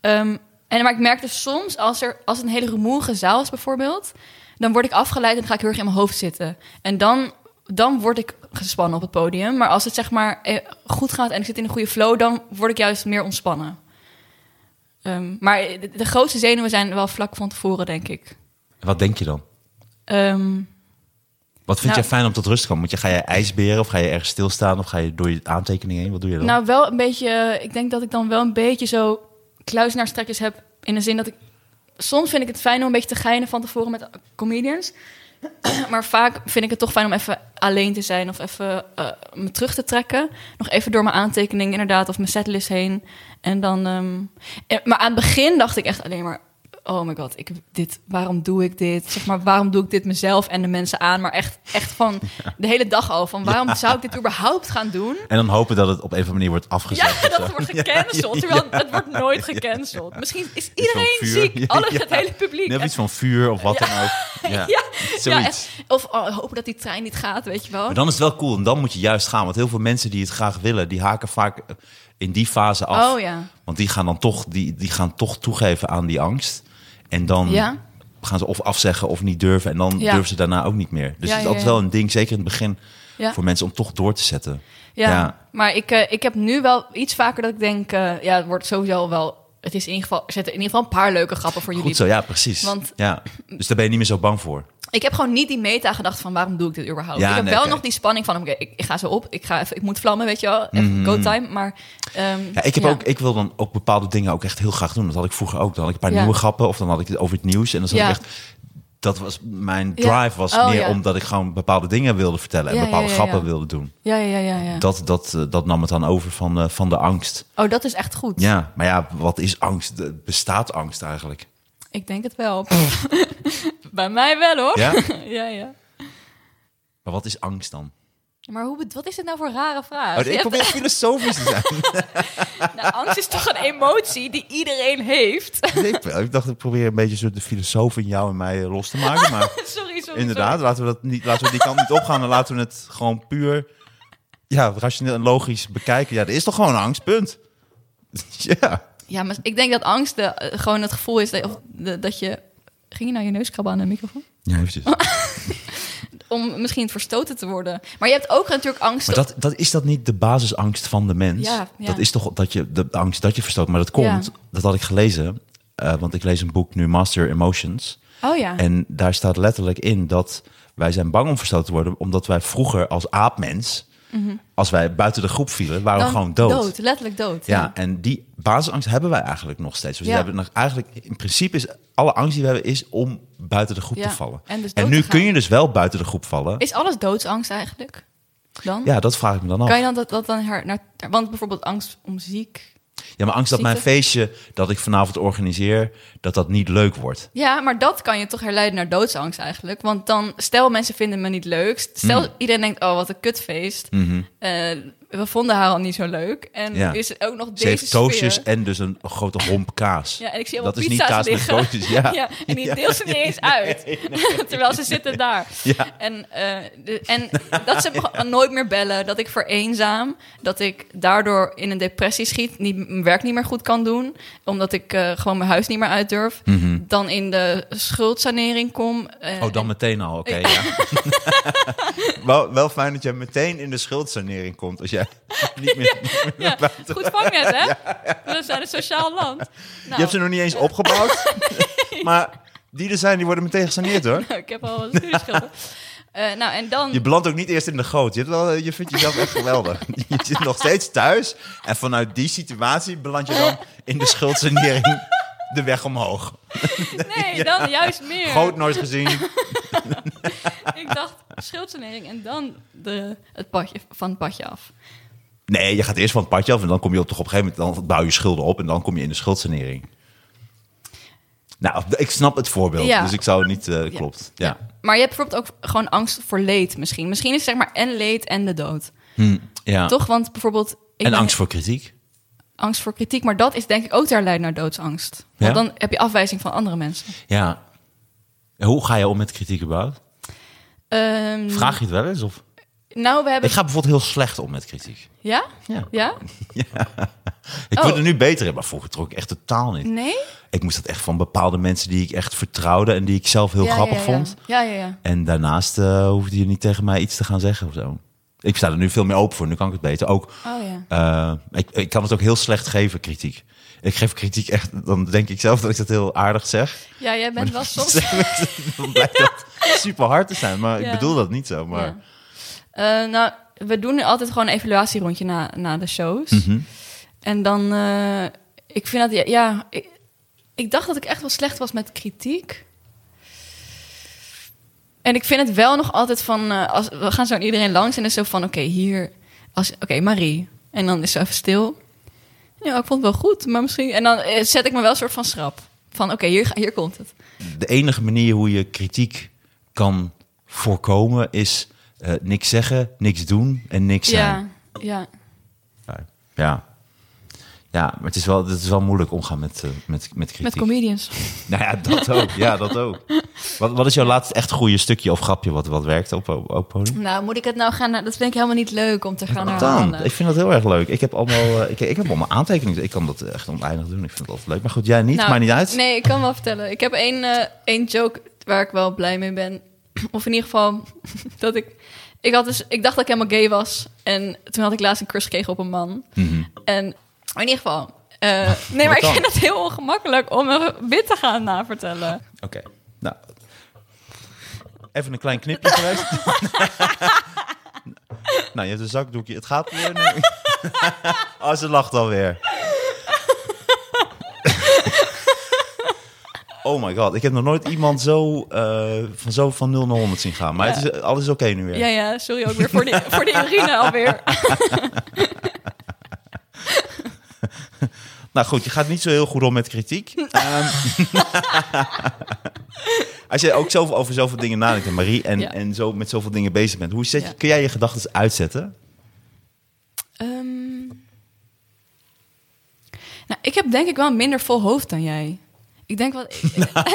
Speaker 3: Ehm, en, maar ik merk dus soms, als er als het een hele rumoerige zaal is bijvoorbeeld... dan word ik afgeleid en dan ga ik heel erg in mijn hoofd zitten. En dan, dan word ik gespannen op het podium. Maar als het zeg maar eh, goed gaat en ik zit in een goede flow... dan word ik juist meer ontspannen. Ehm, maar de, de grootste zenuwen zijn wel vlak van tevoren, denk ik.
Speaker 2: wat denk je dan?
Speaker 3: Ehm,
Speaker 2: Wat vind
Speaker 3: Nou-
Speaker 2: jij fijn om tot rust te komen? Want je, ga je ijsberen of ga je ergens stilstaan of ga je door je aantekeningen heen? Wat doe je dan?
Speaker 3: nou, wel een beetje... eh, Ik denk dat ik dan wel een beetje zo kluisenaarstrekjes heb... in de zin dat ik... Soms vind ik het fijn om een beetje te geinen van tevoren met comedians... maar vaak vind ik het toch fijn om even alleen te zijn of even eh, me terug te trekken. Nog even door mijn aantekening inderdaad of mijn setlist heen. En dan, ehm, en- maar aan het begin dacht ik echt alleen maar, oh my god, ik, dit, waarom doe ik dit? Zeg maar, waarom doe ik dit mezelf en de mensen aan? Maar echt, echt van de hele dag al, van waarom zou ik dit überhaupt gaan doen?
Speaker 2: En dan hopen dat het op een of andere manier wordt afgezet.
Speaker 3: Ja, dat wordt gecanceld. Terwijl het wordt nooit gecanceld. Misschien is iedereen
Speaker 2: vuur. Ja,
Speaker 3: ziek. Alle,
Speaker 2: ja.
Speaker 3: Het hele publiek.
Speaker 2: Net iets van vuur of wat dan ook. Ja,
Speaker 3: Ja, ja,
Speaker 2: zoiets.
Speaker 3: echt. of oh, hopen dat die trein niet gaat, weet je wel.
Speaker 2: Maar dan is het wel cool en dan moet je juist gaan. Want heel veel mensen die het graag willen, die haken vaak eh, in die fase af.
Speaker 3: Oh ja.
Speaker 2: Want die gaan dan toch, die, die gaan toch toegeven aan die angst. En dan
Speaker 3: Ja.
Speaker 2: gaan ze of afzeggen of niet durven. En dan
Speaker 3: Ja.
Speaker 2: durven ze daarna ook niet meer. Dus het
Speaker 3: Ja,
Speaker 2: is
Speaker 3: ja,
Speaker 2: altijd
Speaker 3: ja.
Speaker 2: wel een ding, zeker in het begin,
Speaker 3: Ja.
Speaker 2: voor mensen om toch door te zetten.
Speaker 3: Ja,
Speaker 2: Ja.
Speaker 3: maar ik, eh, ik heb nu wel iets vaker dat ik denk... eh, ja, het wordt sowieso wel... Het is in ieder geval, er zitten in ieder geval een paar leuke grappen voor jullie.
Speaker 2: Goed zo, ja, precies.
Speaker 3: Want-
Speaker 2: ja. Dus daar ben je niet meer zo bang voor.
Speaker 3: Ik heb gewoon niet die meta gedacht van waarom doe ik dit überhaupt?
Speaker 2: Ja,
Speaker 3: ik heb
Speaker 2: nee,
Speaker 3: wel
Speaker 2: oké.
Speaker 3: nog die spanning van... oké, ik, ik ga zo op, ik, ga even, ik moet vlammen, weet je wel. Even go time, maar... ehm,
Speaker 2: Mhm. Ja, ik, heb Ook, ik wil dan ook bepaalde dingen ook echt heel graag doen. Dat had ik vroeger ook. Dan had ik een paar
Speaker 3: Ja.
Speaker 2: nieuwe grappen of dan had ik het over het nieuws. En dan zat
Speaker 3: Ja.
Speaker 2: ik echt dat was mijn drive
Speaker 3: Ja.
Speaker 2: was
Speaker 3: Oh,
Speaker 2: meer
Speaker 3: ja.
Speaker 2: omdat ik gewoon bepaalde dingen wilde vertellen en
Speaker 3: Ja, ja,
Speaker 2: bepaalde
Speaker 3: ja,
Speaker 2: grappen
Speaker 3: ja.
Speaker 2: wilde doen.
Speaker 3: Ja, ja, ja, ja.
Speaker 2: Dat, dat, eh, dat nam het dan over van, eh, van de angst.
Speaker 3: Oh, dat is echt goed.
Speaker 2: Ja, maar ja, wat is angst? De- Bestaat angst eigenlijk?
Speaker 3: Ik denk het wel. Bij mij wel hoor.
Speaker 2: Oh. Ja?
Speaker 3: ja, ja.
Speaker 2: Maar wat is angst dan?
Speaker 3: Maar hoe, bed- wat is dit nou voor rare vraag?
Speaker 2: Oh,
Speaker 3: Je
Speaker 2: ik
Speaker 3: hebt-
Speaker 2: probeer filosofisch te zijn.
Speaker 3: nou, angst is toch een emotie die iedereen heeft?
Speaker 2: ik, ik dacht, ik probeer een beetje zo de filosoof in jou en mij eh, los te maken. Maar
Speaker 3: sorry, sorry.
Speaker 2: inderdaad, laten we, dat niet, laten we die kant niet opgaan. En laten we het gewoon puur ja, rationeel en logisch bekijken. Ja, er is toch gewoon angst, punt. ja.
Speaker 3: sorry. Ja, maar ik denk dat angst de, eh, gewoon het gevoel is dat, of de- dat je... Ging je nou je neus krabben aan de microfoon?
Speaker 2: Ja, eventjes.
Speaker 3: Om misschien verstoten te worden. Maar je hebt ook natuurlijk angst...
Speaker 2: Maar dat, dat, is dat niet de basisangst van de mens?
Speaker 3: Ja, ja.
Speaker 2: Dat is toch dat je de angst dat je verstoot. Maar dat komt,
Speaker 3: Ja.
Speaker 2: dat had ik gelezen. eh, want ik lees een boek nu, Master Emotions.
Speaker 3: Oh ja.
Speaker 2: En nou daar staat letterlijk in dat wij zijn bang om verstoten te worden. Omdat wij vroeger als aapmens, als wij buiten de groep vielen, waren we
Speaker 3: Mhm. Dan
Speaker 2: gewoon dood.
Speaker 3: letterlijk dood.
Speaker 2: Ja, en die basisangst hebben wij eigenlijk nog steeds. Dus
Speaker 3: Ja.
Speaker 2: we hebben nog eigenlijk, in principe is alle angst die we hebben, is om buiten de groep
Speaker 3: Ja,
Speaker 2: te vallen.
Speaker 3: en dus
Speaker 2: en
Speaker 3: dood
Speaker 2: nu
Speaker 3: te gaan.
Speaker 2: kun je dus wel buiten de groep vallen.
Speaker 3: Is alles doodsangst eigenlijk? Dan?
Speaker 2: Ja, dat vraag ik me dan af.
Speaker 3: Kan je dan dat, dat dan her, naar, naar- Want bijvoorbeeld angst om ziek.
Speaker 2: Ja, maar angst dat mijn
Speaker 3: Ziekte.
Speaker 2: feestje dat ik vanavond organiseer, dat dat niet leuk wordt.
Speaker 3: Ja, maar dat kan je toch herleiden naar doodsangst eigenlijk. Want dan, stel mensen vinden me niet leuk. Stel
Speaker 2: Hmm.
Speaker 3: iedereen denkt, oh wat een kutfeest. Eh, we vonden haar al niet zo leuk. En
Speaker 2: Mhm. Ja.
Speaker 3: er is ook nog
Speaker 2: Ze
Speaker 3: deze
Speaker 2: heeft toastjes
Speaker 3: sfeer.
Speaker 2: en dus een grote romp kaas.
Speaker 3: Ja, en ik zie
Speaker 2: dat
Speaker 3: allemaal
Speaker 2: is niet
Speaker 3: pizza's
Speaker 2: kaas
Speaker 3: liggen.
Speaker 2: met toastjes, ja.
Speaker 3: Ja, en die deelt ze niet eens uit. Terwijl ze zitten daar.
Speaker 2: Ja.
Speaker 3: En, eh, de- en dat ze me nooit meer bellen, dat ik vereenzaam, dat ik daardoor in een depressie schiet, niet, mijn werk niet meer goed kan doen, omdat ik eh, gewoon mijn huis niet meer uit durf, dan in de schuldsanering kom. eh,
Speaker 2: Mhm. Oh, dan meteen al, oké, ja. wel, wel fijn dat jij meteen in de schuldsanering komt als jij niet meer...
Speaker 3: ja, goed vangnet, hè? We zijn een sociaal land. Nou,
Speaker 2: Je hebt ze nog niet eens opgebouwd, maar die er zijn, die worden meteen gesaneerd, hoor.
Speaker 3: nou, ik heb al wat stuurschulden. Eh, nou, en dan...
Speaker 2: Je belandt ook niet eerst in de goot. Je, hebt wel, eh, je vindt jezelf echt geweldig. Je zit nog steeds thuis en vanuit die situatie beland je dan in de schuldsanering de weg omhoog.
Speaker 3: Nee, dan juist meer.
Speaker 2: Groot nooit gezien.
Speaker 3: Ik dacht schuldsanering en dan de, het padje, van het padje af.
Speaker 2: Nee, je gaat eerst van het padje af en dan kom je op, toch op een gegeven moment, dan bouw je schulden op en dan kom je in de schuldsanering. Nou, ik snap het voorbeeld,
Speaker 3: Ja.
Speaker 2: dus ik zou niet, eh, klopt. Ja.
Speaker 3: Maar je hebt bijvoorbeeld ook gewoon angst voor leed misschien. Misschien is het zeg maar en leed en de dood.
Speaker 2: ja.
Speaker 3: Toch? Want bijvoorbeeld... ik
Speaker 2: En
Speaker 3: ben-
Speaker 2: angst voor kritiek.
Speaker 3: angst voor kritiek. Maar dat is denk ik ook ter leid naar doodsangst. Want
Speaker 2: Ja?
Speaker 3: dan heb je afwijzing van andere mensen.
Speaker 2: Ja. En Hoe ga je om met kritiek überhaupt?
Speaker 3: Ehm,
Speaker 2: Vraag je het wel eens? Of?
Speaker 3: nou, we hebben...
Speaker 2: Ik ga bijvoorbeeld heel slecht om met kritiek.
Speaker 3: Ja?
Speaker 2: Ja.
Speaker 3: Ja?
Speaker 2: Ik
Speaker 3: Oh. Mm.
Speaker 2: word er nu beter in, maar vroeger trok ik echt totaal niet.
Speaker 3: Nee?
Speaker 2: Ik moest dat echt van bepaalde mensen die ik echt vertrouwde en die ik zelf heel
Speaker 3: ja,
Speaker 2: grappig
Speaker 3: ja, ja.
Speaker 2: vond.
Speaker 3: Ja, ja, ja.
Speaker 2: En daarnaast eh, hoefde je niet tegen mij iets te gaan zeggen of zo. Ik sta er nu veel meer open voor, nu kan ik het beter. Ook,
Speaker 3: Oh ja.
Speaker 2: eh, ik, ik kan het ook heel slecht geven, kritiek. Ik geef kritiek echt, dan denk ik zelf dat ik dat heel aardig zeg.
Speaker 3: Ja, jij bent wel soms...
Speaker 2: Dan blijkt dat super hard te zijn, maar
Speaker 3: Ja.
Speaker 2: ik bedoel dat niet zo. Maar
Speaker 3: Ja. Eh, nou, we doen nu altijd gewoon een evaluatierondje na, na de shows.
Speaker 2: Mhm.
Speaker 3: En dan, eh, ik vind dat, ja, ik, ik dacht dat ik echt wel slecht was met kritiek. En ik vind het wel nog altijd van, eh, als, we gaan zo aan iedereen langs en dan is zo van, oké, hier, als, oké, Marie. En dan is ze even stil. Ja, ik vond het wel goed, maar misschien... En dan eh, zet ik me wel een soort van schrap. Van, oké, hier, ga- hier komt het.
Speaker 2: de enige manier hoe je kritiek kan voorkomen is eh, niks zeggen, niks doen en niks zijn.
Speaker 3: Ja, ja.
Speaker 2: Ja. Ja, ja maar het is, wel, het is wel moeilijk omgaan met, eh, met, met kritiek.
Speaker 3: Met comedians.
Speaker 2: nou ja, dat ook. Ja, dat ook. Wat, wat is jouw laatste echt goede stukje of grapje wat, wat werkt op, op, op podium?
Speaker 3: Nou, moet ik het nou gaan... naar- Dat vind ik helemaal niet leuk om te gaan naar
Speaker 2: Dan,
Speaker 3: Hollander.
Speaker 2: ik vind dat heel erg leuk. Ik heb allemaal, eh, ik, ik heb allemaal aantekeningen. Ik kan dat echt oneindig doen. Ik vind het altijd leuk. Maar goed, jij niet,
Speaker 3: Nou,
Speaker 2: maar niet uit.
Speaker 3: Nee, ik kan wel vertellen. Ik heb één, eh één joke waar ik wel blij mee ben. Of in ieder geval dat ik... Ik, had dus, ik dacht dat ik helemaal gay was. En toen had ik laatst een kus gekregen op een man. En in ieder geval... eh, nee, maar ik
Speaker 2: Mhm. dan?
Speaker 3: vind het heel ongemakkelijk om een wit te gaan navertellen.
Speaker 2: Oké, nou. Even een klein knipje geweest. nou, je hebt een zakdoekje. Het gaat weer. Nee. oh, ze lacht alweer. Oh my god, ik heb nog nooit iemand zo, eh, van, zo van 0 naar 100 zien gaan. Maar
Speaker 3: Ja.
Speaker 2: het is, alles is oké nu weer.
Speaker 3: Ja, ja, sorry ook weer voor de, voor de urine alweer.
Speaker 2: Nou goed, je gaat niet zo heel goed om met kritiek.
Speaker 3: Hm.
Speaker 2: Ehm, als je ook zoveel, over zoveel dingen nadenkt, hè, Marie, en,
Speaker 3: Ja.
Speaker 2: en zo met zoveel dingen bezig bent, hoe zet je-
Speaker 3: Ja.
Speaker 2: kun jij je gedachten uitzetten?
Speaker 3: Ehm, nou, ik heb denk ik wel een minder vol hoofd dan jij. Ik denk wel...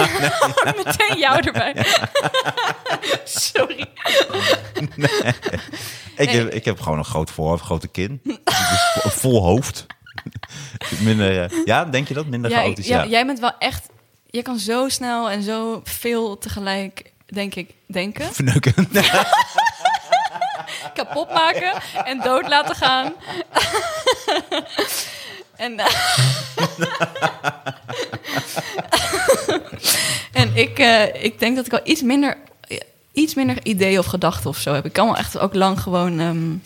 Speaker 3: Meteen jou erbij. Sorry.
Speaker 2: Ik,
Speaker 3: Nee.
Speaker 2: heb, ik heb gewoon een groot voorhoofd, grote kin, Dus vo- vol hoofd. minder, eh, ja, denk je dat? Minder
Speaker 3: Ja, ik-
Speaker 2: chaotisch,
Speaker 3: ja,
Speaker 2: ja.
Speaker 3: Jij bent wel echt... Je kan zo snel en zo veel tegelijk, denk ik, denken.
Speaker 2: Verneuken.
Speaker 3: kapot maken en dood laten gaan. en, eh, en ik, eh, ik denk dat ik wel iets minder, iets minder ideeën of gedachten of zo heb. Ik kan wel echt ook lang gewoon ehm, een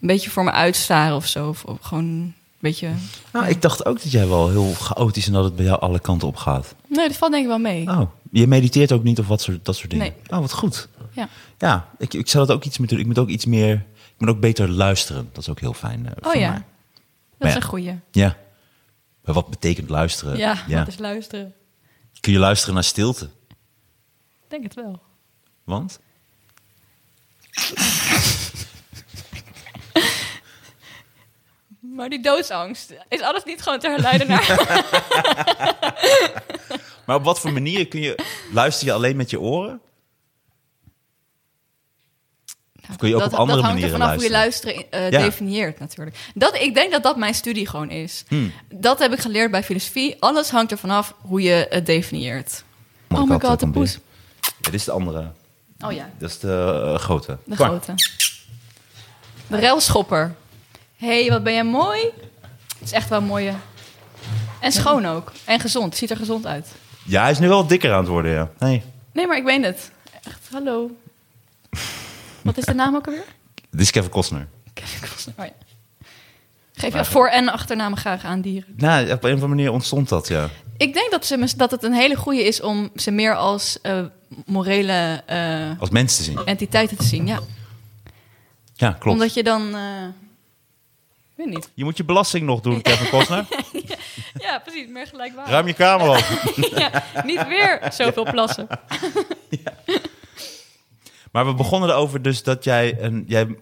Speaker 3: beetje voor me uitstaren of zo. Of, of gewoon een beetje...
Speaker 2: Nou, ik dacht ook dat jij wel heel chaotisch en dat het bij jou alle kanten op gaat.
Speaker 3: Nee, dat valt denk ik wel mee.
Speaker 2: Oh, je mediteert ook niet of wat soort, dat soort dingen?
Speaker 3: Nee.
Speaker 2: Oh, wat goed.
Speaker 3: Ja.
Speaker 2: Ja, ik, ik zou dat ook iets meer doen. Ik moet ook iets meer... Ik moet ook beter luisteren. Dat is ook heel fijn eh
Speaker 3: Oh
Speaker 2: voor
Speaker 3: ja,
Speaker 2: mij.
Speaker 3: dat is
Speaker 2: ja.
Speaker 3: een goeie.
Speaker 2: Ja. Maar wat betekent luisteren?
Speaker 3: Ja, dat is luisteren.
Speaker 2: Kun je luisteren naar stilte?
Speaker 3: Ik denk het wel.
Speaker 2: Want?
Speaker 3: Maar die doodsangst, is alles niet gewoon te herleiden naar...
Speaker 2: Maar op wat voor manieren kun je... Luister je alleen met je oren?
Speaker 3: Oh
Speaker 2: Of kun je ook
Speaker 3: dat,
Speaker 2: op andere
Speaker 3: dat hangt er
Speaker 2: manieren
Speaker 3: vanaf hoe je
Speaker 2: luisteren?
Speaker 3: luisteren eh,
Speaker 2: Ja.
Speaker 3: definieert natuurlijk. Dat, ik denk dat dat mijn studie gewoon is.
Speaker 2: Hmm.
Speaker 3: Dat heb ik geleerd bij filosofie. Alles hangt er vanaf hoe je het definieert.
Speaker 2: Mag
Speaker 3: oh
Speaker 2: ik
Speaker 3: my
Speaker 2: altijd
Speaker 3: god, de
Speaker 2: een
Speaker 3: poes.
Speaker 2: bier? Ja, dit is de andere.
Speaker 3: Oh ja,
Speaker 2: Dat is de eh, grote.
Speaker 3: de
Speaker 2: Kwam.
Speaker 3: grote. De railschopper. Hé, hey, wat ben jij mooi. Het is echt wel een mooie. En schoon ook. En gezond. Ziet er gezond uit.
Speaker 2: Ja, hij is nu wel dikker aan het worden, ja. Nee.
Speaker 3: Nee, maar ik weet het. Echt, hallo. Wat is de naam ook alweer?
Speaker 2: Dit is Kevin Costner.
Speaker 3: Kevin Costner, oh ja. Geef je voor- en achternamen graag aan dieren.
Speaker 2: Nou, op een of andere manier ontstond dat, ja.
Speaker 3: Ik denk dat, ze, mis- dat het een hele goede is om ze meer als eh, morele eh,
Speaker 2: Als mensen te zien.
Speaker 3: entiteiten te zien. Ja.
Speaker 2: Ja, klopt.
Speaker 3: Omdat je dan. eh, ik weet niet.
Speaker 2: Je moet je belasting nog doen, Kevin Costner.
Speaker 3: Ja, precies. Meer gelijkwaardig.
Speaker 2: Ruim je kamer op.
Speaker 3: Ja, niet weer zoveel plassen.
Speaker 2: Maar we begonnen erover dus dat jij... Een, jij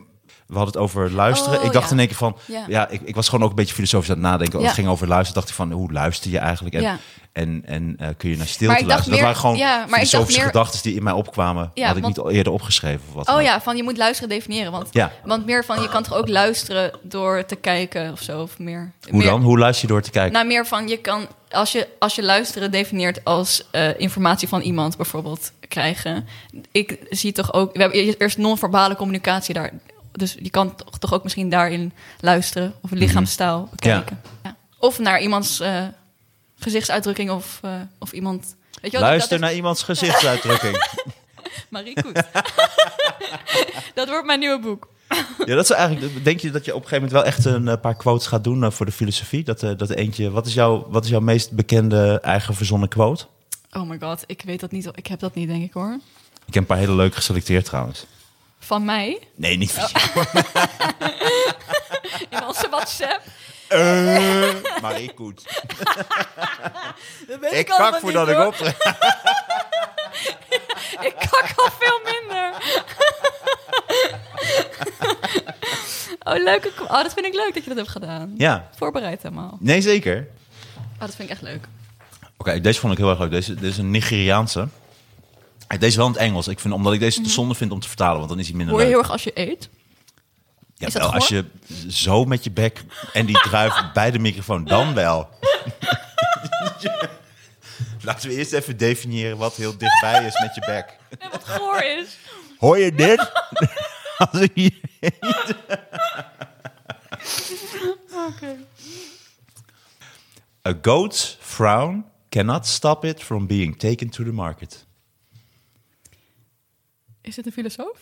Speaker 2: we hadden het over luisteren.
Speaker 3: Oh,
Speaker 2: ik dacht
Speaker 3: ja.
Speaker 2: in één keer van... Ja,
Speaker 3: Ja.
Speaker 2: ik, ik was gewoon ook een beetje filosofisch aan het nadenken. Als
Speaker 3: Ja.
Speaker 2: het ging over luisteren, dacht ik van... Hoe luister je eigenlijk? En,
Speaker 3: Ja.
Speaker 2: en, en eh, kun je naar stilte
Speaker 3: Maar ik dacht
Speaker 2: luisteren?
Speaker 3: meer-
Speaker 2: dat waren gewoon
Speaker 3: ja, maar ik dacht
Speaker 2: filosofische
Speaker 3: meer-
Speaker 2: gedachten die in mij opkwamen.
Speaker 3: Ja,
Speaker 2: had ik
Speaker 3: want-
Speaker 2: niet al eerder opgeschreven of wat dan
Speaker 3: Oh
Speaker 2: ook.
Speaker 3: ja, van je moet luisteren definiëren. Want,
Speaker 2: Ja.
Speaker 3: want meer van je kan toch ook luisteren door te kijken of zo. Of meer,
Speaker 2: Hoe
Speaker 3: meer,
Speaker 2: dan? Hoe luister je door te kijken?
Speaker 3: Nou, meer van je kan, als je, als je luisteren definieert als eh, informatie van iemand bijvoorbeeld krijgen. Ik zie toch ook, we hebben eerst- eerst non-verbale communicatie daar. Dus je kan toch, toch ook misschien daarin luisteren of
Speaker 2: Mhm.
Speaker 3: lichaamstaal bekijken. Ja. Of naar iemands eh, gezichtsuitdrukking of, eh, of iemand. Weet je wel,
Speaker 2: Luister
Speaker 3: dat
Speaker 2: naar iemands gezichtsuitdrukking.
Speaker 3: is Marie Koet. dat wordt mijn nieuwe boek.
Speaker 2: Ja, dat is eigenlijk. Denk je dat je op een gegeven moment wel echt een eh, paar quotes gaat doen eh, voor de filosofie? Dat, eh, dat eentje. Wat is, jouw, wat is jouw meest bekende eigen verzonnen quote?
Speaker 3: Oh my god, ik weet dat niet. Ik heb dat niet, denk ik hoor.
Speaker 2: Ik heb een paar hele leuke geselecteerd trouwens.
Speaker 3: Van mij
Speaker 2: Nee, niet. van
Speaker 3: in onze WhatsApp.
Speaker 2: jou. Eh, Marie Koet.
Speaker 3: Dat weet
Speaker 2: Ik
Speaker 3: allemaal
Speaker 2: pak
Speaker 3: niet,
Speaker 2: voordat ik
Speaker 3: hoor.
Speaker 2: op.
Speaker 3: Ik kak al veel minder. Oh, leuke... ko- Oh, dat vind ik leuk dat je dat hebt gedaan.
Speaker 2: Ja,
Speaker 3: Voorbereid helemaal.
Speaker 2: nee, zeker. Oké,
Speaker 3: Oh, dat vind ik echt leuk.
Speaker 2: deze vond ik heel erg leuk. Deze, deze is een Nigeriaanse. Eh, Deze wel in het Engels. Ik vind, omdat ik deze te zonde vind om te vertalen, want dan is hij minder
Speaker 3: Mhm. Hoor je
Speaker 2: leuk.
Speaker 3: heel erg als je eet?
Speaker 2: Ja,
Speaker 3: Is dat
Speaker 2: wel, als je zo met je bek en die druif bij de microfoon, dan wel. Laten we eerst even definiëren wat heel dichtbij is met je bek.
Speaker 3: En wat goor is.
Speaker 2: Hoor je dit? Als ik hier- A goat's frown cannot stop it from being taken to the market.
Speaker 3: Is dit een filosoof?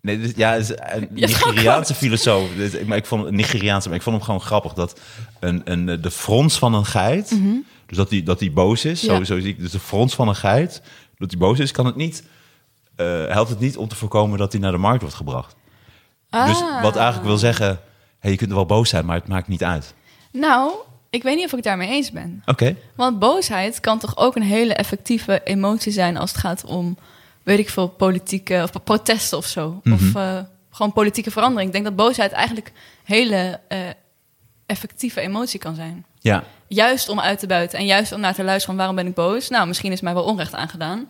Speaker 2: Nee, dit, ja, het is een
Speaker 3: Ja, het is gewoon
Speaker 2: Nigeriaanse filosoof. Dit- eh, ik- maar ik vond, een Nigeriaanse, maar ik vond hem gewoon grappig. Dat een, een, de frons van een geit Dus dat hij dat die boos is,
Speaker 3: Ja.
Speaker 2: zo, zo zie ik dus de frons van een geit, dat hij boos is, kan het niet, eh, helpt het niet om te voorkomen dat hij naar de markt wordt gebracht. Dus
Speaker 3: Ah.
Speaker 2: wat eigenlijk wil zeggen, hey, je kunt wel boos zijn, maar het maakt niet uit.
Speaker 3: Nou, ik weet niet of ik het daarmee eens ben.
Speaker 2: Oké,
Speaker 3: Want boosheid kan toch ook een hele effectieve emotie zijn als het gaat om, weet ik veel, politieke of protesten of zo.
Speaker 2: Mhm.
Speaker 3: Of eh, gewoon politieke verandering. Ik denk dat boosheid eigenlijk een hele eh, effectieve emotie kan zijn.
Speaker 2: ja.
Speaker 3: Juist om uit te buiten en juist om naar te luisteren van waarom ben ik boos? Nou, misschien is mij wel onrecht aangedaan.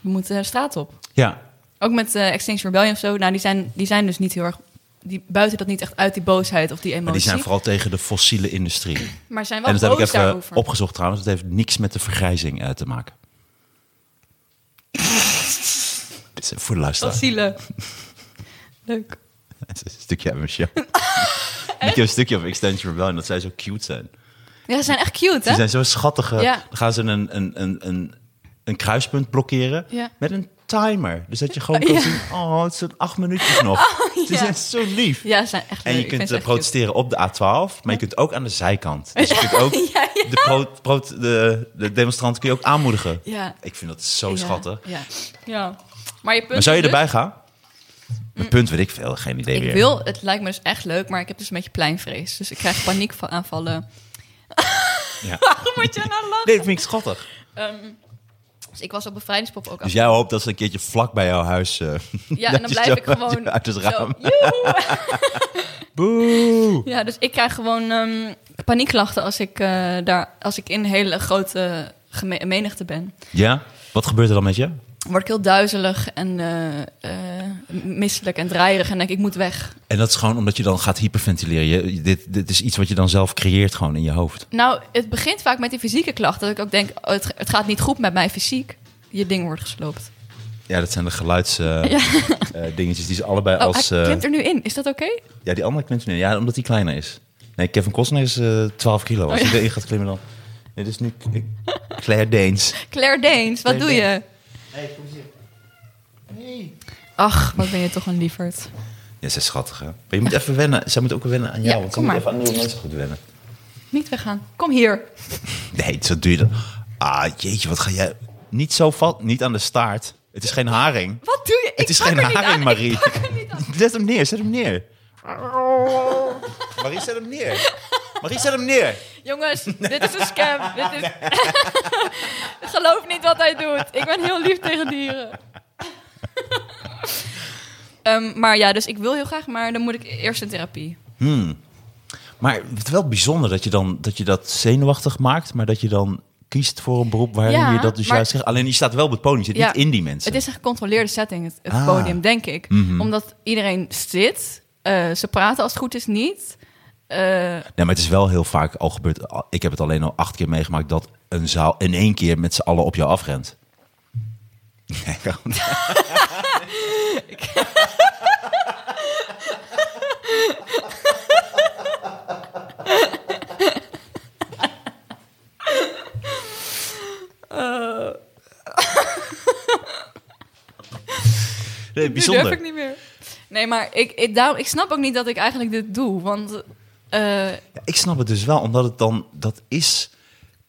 Speaker 3: We moeten de straat op.
Speaker 2: Ja,
Speaker 3: Ook met eh Extinction Rebellion of zo. Nou, die zijn, die zijn dus niet heel erg... Die buiten dat niet echt uit, die boosheid of die emotie.
Speaker 2: maar die zijn vooral tegen de fossiele industrie.
Speaker 3: maar zijn wel
Speaker 2: En dat heb
Speaker 3: boos
Speaker 2: ik even
Speaker 3: daarover.
Speaker 2: opgezocht trouwens. Het heeft niks met de vergrijzing eh, te maken. Dit is voor de luisteraar.
Speaker 3: Fossiele. Leuk.
Speaker 2: Het is een stukje aan Michelle. Ik heb een stukje over Extension Rebellion, dat zij zo cute zijn.
Speaker 3: Ja, ze zijn echt cute,
Speaker 2: Ze
Speaker 3: hè?
Speaker 2: zijn zo schattige.
Speaker 3: Ja.
Speaker 2: Dan gaan ze een, een, een, een, een kruispunt blokkeren
Speaker 3: Ja.
Speaker 2: met een timer. Dus dat je gewoon kan
Speaker 3: Ja. Oh,
Speaker 2: zien, oh, het zijn acht minuutjes nog. Ze
Speaker 3: ja.
Speaker 2: zijn zo lief.
Speaker 3: Ja, ze zijn echt
Speaker 2: En
Speaker 3: leuk.
Speaker 2: je
Speaker 3: Ik vind
Speaker 2: kunt
Speaker 3: ze
Speaker 2: eh,
Speaker 3: echt
Speaker 2: protesteren op de A12, maar je kunt ook aan de zijkant. Dus je kunt ook
Speaker 3: Ja, ja.
Speaker 2: De, pro- pro- de, de demonstranten kun je ook aanmoedigen.
Speaker 3: Ja.
Speaker 2: Ik vind dat zo
Speaker 3: cute.
Speaker 2: schattig.
Speaker 3: Ja. ja. Ja. Maar je punt
Speaker 2: Maar zou je
Speaker 3: is dus-
Speaker 2: erbij gaan? Mijn punt weet ik veel, geen idee
Speaker 3: Mm. Ik
Speaker 2: meer.
Speaker 3: wil, het lijkt me dus echt leuk, maar ik heb dus een beetje pleinvrees. Dus ik krijg eh, paniekaanvallen.
Speaker 2: Ja.
Speaker 3: Waarom moet je nou lachen?
Speaker 2: Nee, dat vind ik schattig.
Speaker 3: Ehm, dus ik was op bevrijdingspop ook
Speaker 2: Dus jij hoopt dat ze een keertje vlak bij jouw huis... eh, dat
Speaker 3: Ja, en dan
Speaker 2: je
Speaker 3: blijf
Speaker 2: zo-
Speaker 3: ik gewoon
Speaker 2: Uit het
Speaker 3: zo,
Speaker 2: raam.
Speaker 3: joehoe.
Speaker 2: Boe!
Speaker 3: Ja, dus ik krijg gewoon ehm paniekklachten als ik, eh, daar, als ik in een hele grote geme- menigte ben.
Speaker 2: Ja? Wat gebeurt er dan met je?
Speaker 3: Word ik heel duizelig en eh, eh, misselijk en draaierig en denk ik, ik moet weg.
Speaker 2: En dat is gewoon omdat je dan gaat hyperventileren. Je, dit, dit is iets wat je dan zelf creëert gewoon in je hoofd.
Speaker 3: Nou, het begint vaak met die fysieke klachten. Dat ik ook denk, oh, het, het gaat niet goed met mij fysiek. Je ding wordt gesloopt.
Speaker 2: Ja, dat zijn de geluidsdingetjes dingetjes die ze allebei
Speaker 3: Oh,
Speaker 2: als...
Speaker 3: hij
Speaker 2: eh,
Speaker 3: klimt er nu in. Is dat oké?
Speaker 2: Ja, die andere klimt er nu. in. Ja, omdat die kleiner is. Nee, Kevin Costner is eh 12 kilo. Als
Speaker 3: Oh, ja.
Speaker 2: je erin gaat klimmen dan... Dit is nu Claire Deens.
Speaker 3: Claire Deens, wat
Speaker 2: Claire
Speaker 3: doe je?
Speaker 2: Danes. Nee, kom eens hier. Nee.
Speaker 3: Ach, wat ben je toch een lieverd.
Speaker 2: Ja, ze is schattig, hè? Maar je moet even wennen. Zij moet ook wennen aan jou.
Speaker 3: Ja,
Speaker 2: want ze
Speaker 3: kom
Speaker 2: moet
Speaker 3: maar.
Speaker 2: even aan nieuwe mensen goed wennen.
Speaker 3: Niet weggaan. Kom hier.
Speaker 2: Nee, zo doe je dat. Ah, jeetje, wat ga jij... Niet zo valt, niet aan de staart. Het is geen haring.
Speaker 3: Wat doe je? Ik
Speaker 2: Het is
Speaker 3: pak
Speaker 2: geen
Speaker 3: er niet
Speaker 2: haring,
Speaker 3: aan.
Speaker 2: Marie.
Speaker 3: Ik pak er niet aan.
Speaker 2: Zet hem neer, zet hem neer. Marie, zet hem neer. Marie, zet hem neer.
Speaker 3: Jongens, dit is een scam. Dit is... Geloof niet wat hij doet. Ik ben heel lief tegen dieren. Ehm, maar ja, dus ik wil heel graag, maar dan moet ik eerst in therapie.
Speaker 2: Maar het is wel bijzonder dat je, dan, dat je dat zenuwachtig maakt, maar dat je dan kiest voor een beroep waarin
Speaker 3: Ja,
Speaker 2: je dat dus
Speaker 3: maar-
Speaker 2: juist zegt. Alleen je staat wel op het podium, je zit
Speaker 3: Ja,
Speaker 2: niet in die mensen.
Speaker 3: Het is een gecontroleerde setting, het, het
Speaker 2: Ah. Mhm.
Speaker 3: podium, denk ik. Omdat iedereen zit, eh, ze praten als het goed is niet. Eh,
Speaker 2: Nee, maar het is wel heel vaak al gebeurd. al- Ik heb het alleen al acht keer meegemaakt dat een zaal in één keer met z'n allen op jou afrent. Nee, gewoon- nee,
Speaker 3: Nu durf
Speaker 2: bijzonder.
Speaker 3: ik niet meer. Nee, maar ik, ik, daarom, ik snap ook niet dat ik eigenlijk dit doe. Want eh,
Speaker 2: Ja, ik snap het dus wel, omdat het dan dat is.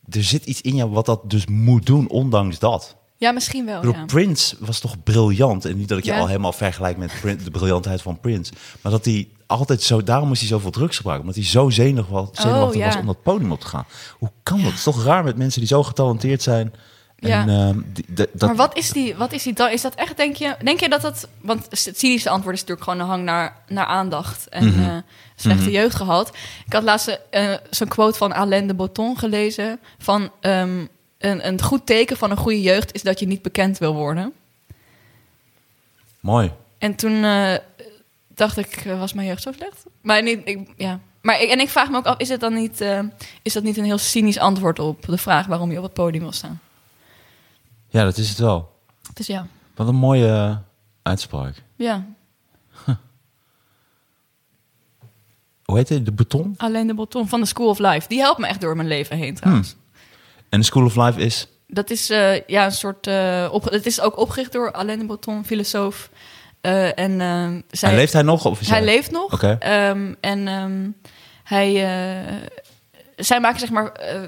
Speaker 2: Er zit iets in jou wat dat dus moet doen, ondanks dat.
Speaker 3: ja, misschien wel.
Speaker 2: Ik bedoel,
Speaker 3: Oh, Ja.
Speaker 2: Prince was toch briljant. En niet dat ik je
Speaker 3: Ja.
Speaker 2: al helemaal vergelijk met Prin- de briljantheid van Prince. Maar dat hij altijd zo... Daarom moest hij zoveel drugs gebruiken. Omdat hij zo zenuwachtig was, zenuwachtig
Speaker 3: Oh, ja.
Speaker 2: was om dat podium op te gaan. Hoe kan dat? Het is toch raar met mensen die zo getalenteerd zijn. En,
Speaker 3: Ja.
Speaker 2: ehm, die- de- dat,
Speaker 3: Maar wat is die, wat is die dan? Is dat echt, denk je, denk je dat dat... Want het cynische antwoord is natuurlijk gewoon een hang naar, naar aandacht en eh, slechte jeugd gehad. Ik had laatst eh, zo'n quote van Alain de Botton gelezen. Van ehm, een, een goed teken van een goede jeugd is dat je niet bekend wil worden.
Speaker 2: Mooi.
Speaker 3: En toen eh, dacht ik, eh, was mijn jeugd zo slecht? Maar niet, ik, ja. Maar ik, en ik vraag me ook af, is, het dan niet, eh, is dat niet een heel cynisch antwoord op de vraag waarom je op het podium wil staan?
Speaker 2: Ja, dat is het wel.
Speaker 3: Dus ja,
Speaker 2: Wat een mooie eh, uitspraak.
Speaker 3: ja.
Speaker 2: Hoe heet het? De Beton?
Speaker 3: alleen de Botton van de School of Life. Die helpt me echt door mijn leven heen trouwens.
Speaker 2: Hmm. En de School of Life is...
Speaker 3: Dat is eh, ja, een soort. eh op, het is ook opgericht door Alain de Botton, filosoof. Eh, en, ehm, zij,
Speaker 2: Hij leeft hij nog? Of is
Speaker 3: hij leeft nog.
Speaker 2: Oké.
Speaker 3: Ehm, en ehm, hij, eh, zij maken zeg maar eh,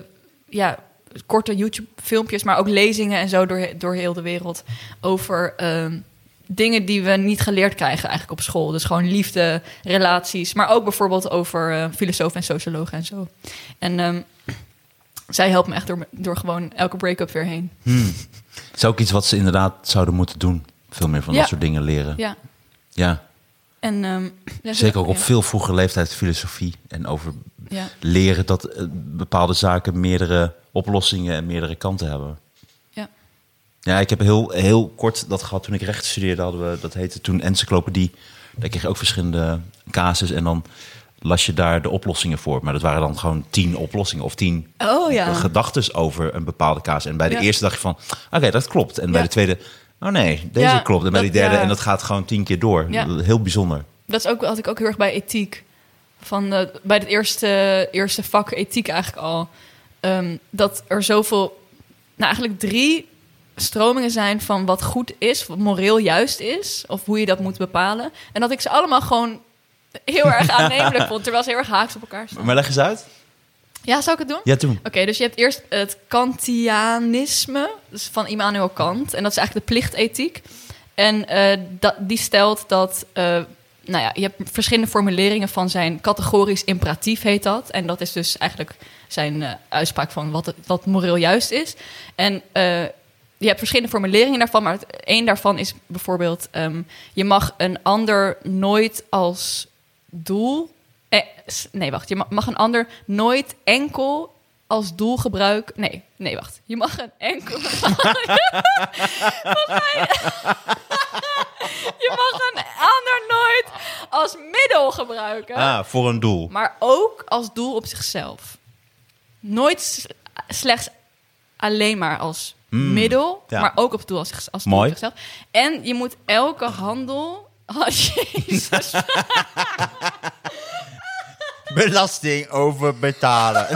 Speaker 3: ja, korte YouTube-filmpjes, maar ook lezingen en zo door, door heel de wereld over ehm, dingen die we niet geleerd krijgen eigenlijk op school. Dus gewoon liefde, relaties, maar ook bijvoorbeeld over eh, filosofen en sociologen en zo. En ehm, zij helpt me echt door, door gewoon elke break-up weer heen.
Speaker 2: Het is ook iets wat ze inderdaad zouden moeten doen. Veel meer van
Speaker 3: Ja.
Speaker 2: dat soort dingen leren. Ja.
Speaker 3: Ja, en... ehm, ja,
Speaker 2: Zeker ook op
Speaker 3: ja.
Speaker 2: veel vroege leeftijd filosofie. En over
Speaker 3: Ja.
Speaker 2: leren dat eh, bepaalde zaken meerdere oplossingen en meerdere kanten hebben.
Speaker 3: Ja.
Speaker 2: Ja, ik heb heel, heel kort dat gehad toen ik recht studeerde. Hadden we, dat heette toen encyclopedie. Daar kreeg je ook verschillende casus. En dan las je daar de oplossingen voor. Maar dat waren dan gewoon tien oplossingen of tien
Speaker 3: Oh ja.
Speaker 2: gedachtes over een bepaalde kaas. En bij de
Speaker 3: Ja.
Speaker 2: eerste dacht je van, oké, dat klopt. En bij
Speaker 3: Ja.
Speaker 2: de tweede, oh nee, deze
Speaker 3: Ja,
Speaker 2: klopt. En bij
Speaker 3: dat-
Speaker 2: de derde,
Speaker 3: ja.
Speaker 2: en dat gaat gewoon tien keer door.
Speaker 3: Ja.
Speaker 2: Heel bijzonder.
Speaker 3: Dat is ook, had ik ook heel erg bij ethiek. Van eh, bij het eerste, eerste vak ethiek eigenlijk al. Ehm, dat er zoveel, nou eigenlijk drie stromingen zijn van wat goed is, wat moreel juist is, of hoe je dat moet bepalen. En dat ik ze allemaal gewoon heel erg aannemelijk vond, terwijl ze heel erg haaks op elkaar staan.
Speaker 2: Maar leg eens uit.
Speaker 3: Ja, zou ik het doen?
Speaker 2: Ja, toen.
Speaker 3: Oké, dus je hebt eerst het Kantianisme dus van Immanuel Kant. En dat is eigenlijk de plichtethiek. En eh, dat, die stelt dat... eh, nou ja, je hebt verschillende formuleringen van zijn categorisch imperatief heet dat. En dat is dus eigenlijk zijn eh, uitspraak van wat, het- wat moreel juist is. En eh, je hebt verschillende formuleringen daarvan. Maar het- één daarvan is bijvoorbeeld... ehm, je mag een ander nooit als doel... eh, s- nee, wacht. Je ma- mag een ander nooit enkel als doel gebruik. Nee, nee, wacht. Je mag een enkel. Volgens mij- je mag een ander nooit als middel gebruiken,
Speaker 2: Ah, voor een doel.
Speaker 3: maar ook als doel op zichzelf. Nooit s- slechts alleen maar als middel,
Speaker 2: Hmm, ja.
Speaker 3: maar ook op doel als, zich- als doel
Speaker 2: Mooi.
Speaker 3: op zichzelf. En je moet elke handel. Oh, jezus.
Speaker 2: Belasting over betalen.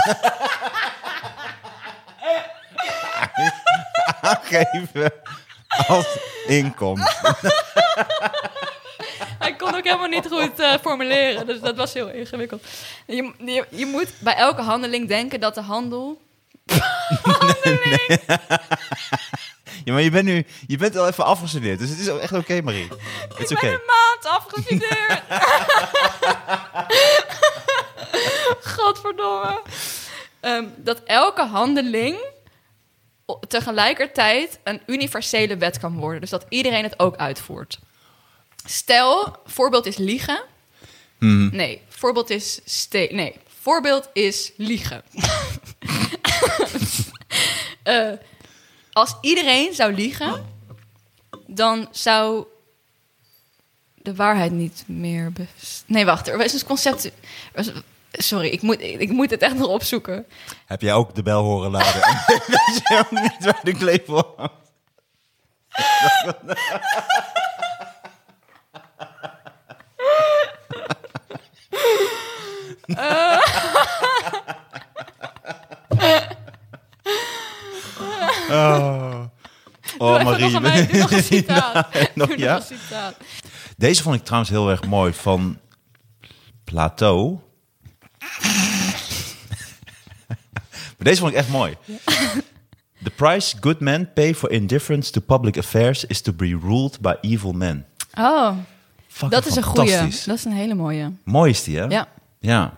Speaker 2: Aangeven als inkomsten.
Speaker 3: Hij kon ook helemaal niet goed eh, formuleren, dus dat was heel ingewikkeld. Je, je, je moet bij elke handeling denken dat de handel...
Speaker 2: Ja, maar je bent nu je bent al even afgestudeerd, dus het is echt oké, Marie. Het is
Speaker 3: Ik
Speaker 2: oké.
Speaker 3: ben een maand afgestudeerd! Godverdomme. Ehm, dat elke handeling o- tegelijkertijd een universele wet kan worden. Dus dat iedereen het ook uitvoert. Stel, voorbeeld is liegen. Nee, voorbeeld is ste Nee, voorbeeld is liegen. Eh, als iedereen zou liegen, dan zou de waarheid niet meer bes- Nee, wacht, er is een concept. er is- Sorry, ik moet, ik moet het echt nog opzoeken.
Speaker 2: Heb jij ook de bel horen laden? En Weet je ook niet waar de klepel hangt? Oh,
Speaker 3: Doe
Speaker 2: oh
Speaker 3: even
Speaker 2: Marie.
Speaker 3: nog
Speaker 2: je
Speaker 3: een mij-
Speaker 2: bent-
Speaker 3: doe nog een citaat.
Speaker 2: Ja, nog,
Speaker 3: Doe nog
Speaker 2: ja?
Speaker 3: een citaat.
Speaker 2: Deze vond ik trouwens heel erg mooi van Plato. maar deze vond ik echt mooi. The price good men pay for indifference to public affairs is to be ruled by evil men.
Speaker 3: Oh,
Speaker 2: Fucking
Speaker 3: dat is een goeie.
Speaker 2: fantastisch.
Speaker 3: Dat is een hele mooie.
Speaker 2: Mooi is die, hè?
Speaker 3: Ja.
Speaker 2: Ja.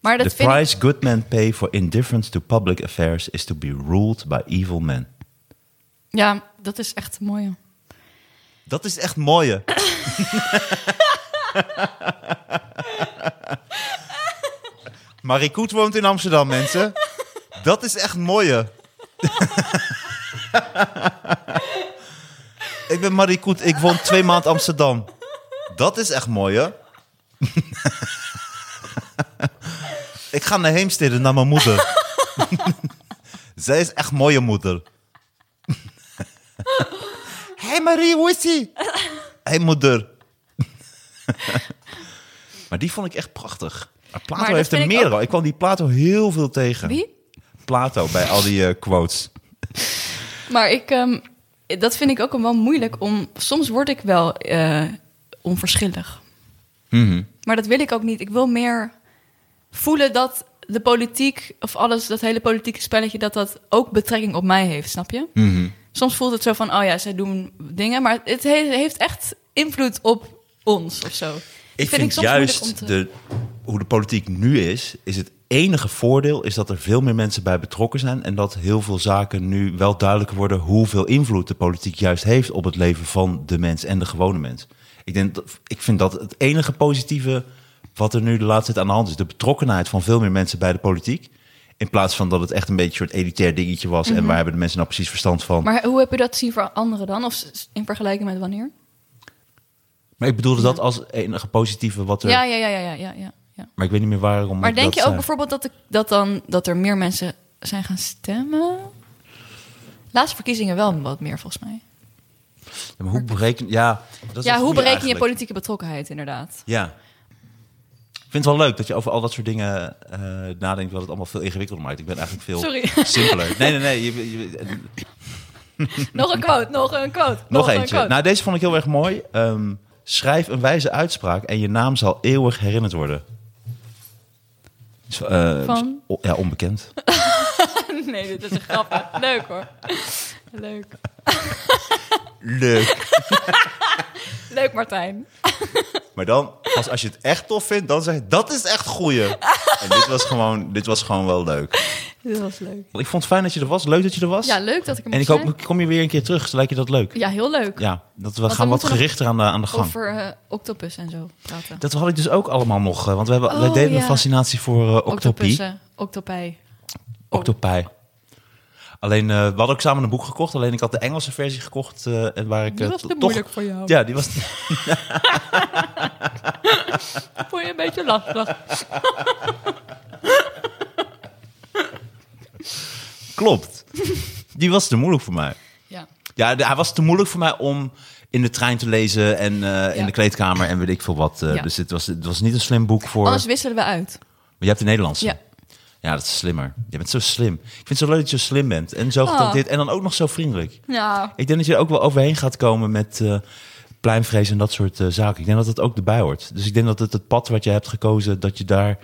Speaker 3: Maar dat
Speaker 2: The
Speaker 3: vind ik...
Speaker 2: price good men pay for indifference to public affairs is to be ruled by evil men.
Speaker 3: Ja, dat is echt een mooie.
Speaker 2: Dat is echt mooie. Marie Koet woont in Amsterdam, mensen. Dat is echt mooie. ik ben Marie Koet, ik woon twee maanden Amsterdam. Dat is echt mooie. ik ga naar Heemstede, naar mijn moeder. Zij is echt mooie moeder. Hé hey Marie, hoe is ie? Hé hey moeder. maar die vond ik echt prachtig. Maar Plato
Speaker 3: Maar dat
Speaker 2: heeft er
Speaker 3: vind ik
Speaker 2: meerdere. Ik kwam die Plato heel veel tegen.
Speaker 3: Wie?
Speaker 2: Plato bij al die eh, quotes.
Speaker 3: Maar ik, ehm, dat vind ik ook wel moeilijk om. Soms word ik wel eh,
Speaker 2: Mhm.
Speaker 3: onverschillig. Maar dat wil ik ook niet. Ik wil meer voelen dat de politiek of alles, dat hele politieke spelletje, dat dat ook betrekking op mij heeft, snap je?
Speaker 2: Mhm.
Speaker 3: Soms voelt het zo van, oh ja, zij doen dingen, maar het he- heeft echt invloed op ons of zo.
Speaker 2: Ik vind, juist de, hoe de politiek nu is, is het enige voordeel is dat er veel meer mensen bij betrokken zijn en dat heel veel zaken nu wel duidelijker worden hoeveel invloed de politiek juist heeft op het leven van de mens en de gewone mens. Ik, denk dat, ik vind dat het enige positieve wat er nu de laatste tijd aan de hand is, de betrokkenheid van veel meer mensen bij de politiek. In plaats van dat het echt een beetje een soort elitair dingetje was. En waar hebben de mensen nou precies verstand van?
Speaker 3: Maar hoe heb je dat zien voor anderen dan? Of s- in vergelijking met wanneer?
Speaker 2: Maar ik bedoelde dat als enige positieve wat er.
Speaker 3: Ja, ja, ja, ja, ja, ja, ja, ja.
Speaker 2: Maar ik weet niet meer waarom.
Speaker 3: Maar
Speaker 2: ik
Speaker 3: denk
Speaker 2: dat
Speaker 3: je ook
Speaker 2: zei.
Speaker 3: bijvoorbeeld dat, ik, dat, dan, dat er meer mensen zijn gaan stemmen? Laatste verkiezingen wel wat meer, volgens mij.
Speaker 2: Ja, maar hoe bereken, ja, dat is
Speaker 3: ja,
Speaker 2: een
Speaker 3: hoe
Speaker 2: goeie
Speaker 3: bereken je
Speaker 2: eigenlijk.
Speaker 3: politieke betrokkenheid, inderdaad?
Speaker 2: Ja. Ik vind het wel leuk dat je over al dat soort dingen eh, nadenkt, wat het allemaal veel ingewikkelder maakt. Ik ben eigenlijk veel
Speaker 3: Sorry.
Speaker 2: simpeler. Nee, nee, nee. je- je- eh,
Speaker 3: Nog een quote, nog een quote.
Speaker 2: Nou, nog
Speaker 3: een
Speaker 2: eentje.
Speaker 3: quote.
Speaker 2: Nou, deze vond ik heel erg mooi. Ehm, schrijf een wijze uitspraak en je naam zal eeuwig herinnerd worden. Zo, eh,
Speaker 3: Van?
Speaker 2: o- ja, onbekend.
Speaker 3: Nee, dit is een grap. hè. Leuk hoor. Leuk.
Speaker 2: Leuk.
Speaker 3: Leuk Martijn.
Speaker 2: Maar dan, pas als je het echt tof vindt, dan zeg je, dat is echt goeie. En dit was gewoon, dit was gewoon wel leuk.
Speaker 3: Dit was leuk.
Speaker 2: Ik vond het fijn dat je er was. Leuk dat je er was.
Speaker 3: Ja, leuk dat ik hem
Speaker 2: En ik hoop, ik kom je weer een keer terug. Lijkt je dat leuk?
Speaker 3: Ja, heel leuk.
Speaker 2: Ja, dat we
Speaker 3: Want
Speaker 2: gaan
Speaker 3: dan
Speaker 2: wat
Speaker 3: moeten we
Speaker 2: gerichter aan de, aan de gang.
Speaker 3: Over eh, octopus en zo praten.
Speaker 2: Dat had ik dus ook allemaal nog. eh, Want we hebben, wij
Speaker 3: Oh,
Speaker 2: deden
Speaker 3: ja.
Speaker 2: een fascinatie voor eh, octopie.
Speaker 3: Octopussen, Oh. octopij.
Speaker 2: Octopi. Alleen, eh, we hadden ook samen een boek gekocht. Alleen ik had de Engelse versie gekocht. eh, en waar ik,
Speaker 3: Dat
Speaker 2: eh,
Speaker 3: was te
Speaker 2: to-
Speaker 3: moeilijk voor jou.
Speaker 2: Ja, die was...
Speaker 3: Vond je een beetje lastig?
Speaker 2: Klopt. Die was te moeilijk voor mij.
Speaker 3: Ja.
Speaker 2: Ja, de- hij was te moeilijk voor mij om in de trein te lezen. En eh, in
Speaker 3: Ja.
Speaker 2: de kleedkamer en weet ik veel wat. eh,
Speaker 3: Ja.
Speaker 2: Dus het was, het was niet een slim boek voor...
Speaker 3: Anders wisselen we uit.
Speaker 2: Maar je hebt de Nederlandse.
Speaker 3: Ja.
Speaker 2: Ja. dat is slimmer. Je bent zo slim. Ik vind het zo leuk dat je zo slim bent. En zo
Speaker 3: Ah.
Speaker 2: getanteerd. En dan ook nog zo vriendelijk.
Speaker 3: Ja.
Speaker 2: Ik denk dat je er ook wel overheen gaat komen met eh pluimvrees en dat soort eh, zaken. Ik denk dat dat ook erbij hoort. Dus ik denk dat het, het pad wat je hebt gekozen, dat je daar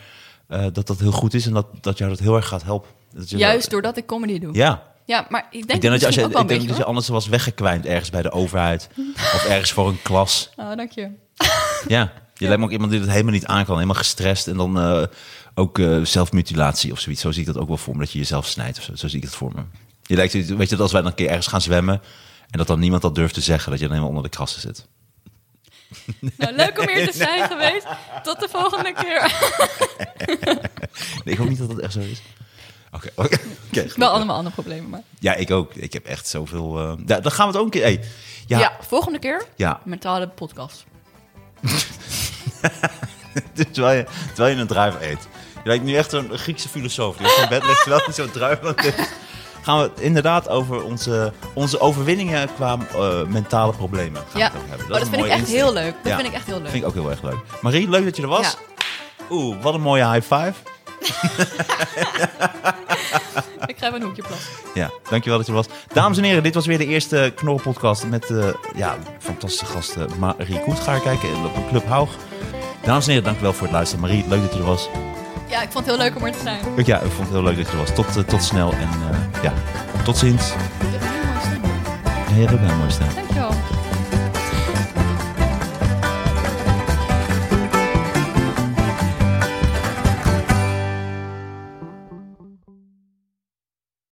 Speaker 2: eh, dat dat heel goed is en dat, dat jou dat heel erg gaat helpen. Dat je
Speaker 3: Juist
Speaker 2: wel-
Speaker 3: doordat ik comedy doe.
Speaker 2: Ja.
Speaker 3: Ja, maar ik denk,
Speaker 2: Ik denk dat je, als je,
Speaker 3: ook wel
Speaker 2: ik
Speaker 3: een
Speaker 2: denk
Speaker 3: beetje.
Speaker 2: dat je
Speaker 3: hoor.
Speaker 2: anders was weggekwijnd ergens bij de overheid of ergens voor een klas.
Speaker 3: Oh, dank je.
Speaker 2: Ja. Je lijkt me ook iemand die dat helemaal niet aan kan. Helemaal gestrest en dan eh, ook eh, zelfmutilatie of zoiets. Zo zie ik dat ook wel voor me, dat je jezelf snijdt of zo. Zo zie ik het voor me. Je lijkt, weet je dat als wij dan een keer ergens gaan zwemmen en dat dan niemand dat durft te zeggen, dat je dan helemaal onder de krassen zit.
Speaker 3: Nou, leuk om hier te zijn geweest. Tot de volgende keer.
Speaker 2: Nee, ik hoop niet dat dat echt zo is. Oké, oké. oké, gelukkig.
Speaker 3: Wel allemaal andere problemen, maar...
Speaker 2: Ja, ik ook. Ik heb echt zoveel... eh, ja, dan gaan we het ook een keer... Hey, ja,
Speaker 3: Ja,
Speaker 2: ja.
Speaker 3: volgende keer mentale podcast.
Speaker 2: Dus terwijl, je, terwijl je een druif eet. Je lijkt nu echt een Griekse filosoof. Die op zijn bed ligt terwijl hij zo'n druif aan het eten is. Gaan we het inderdaad over onze, onze overwinningen qua eh, mentale problemen gaan we
Speaker 3: Ja,
Speaker 2: het over
Speaker 3: dat,
Speaker 2: hebben.
Speaker 3: oh, dat
Speaker 2: is een
Speaker 3: vind ik
Speaker 2: mooie
Speaker 3: echt
Speaker 2: insteek.
Speaker 3: heel leuk. Dat
Speaker 2: Ja.
Speaker 3: vind ik echt heel leuk.
Speaker 2: Vind ik ook heel erg leuk. Marie, leuk dat je er was.
Speaker 3: Ja.
Speaker 2: Oeh, wat een mooie high five.
Speaker 3: Ik ga even een hoekje plassen.
Speaker 2: Ja, dankjewel dat je er was. Dames en heren, dit was weer de eerste Knorrelpodcast met eh ja, fantastische gasten Marie Koet. Ga kijken in de Club Haug. Dames en heren, dankjewel voor het luisteren. Marie, leuk dat je er was.
Speaker 3: Ja, ik vond het heel leuk om er te zijn.
Speaker 2: Ik, ja, ik vond het heel leuk dat je er was. Tot, eh, tot snel en eh, ja, tot ziens.
Speaker 3: Ik heb een hele mooie stem.
Speaker 2: Ja, jij hebt ook een hele mooie stem.
Speaker 3: Dankjewel.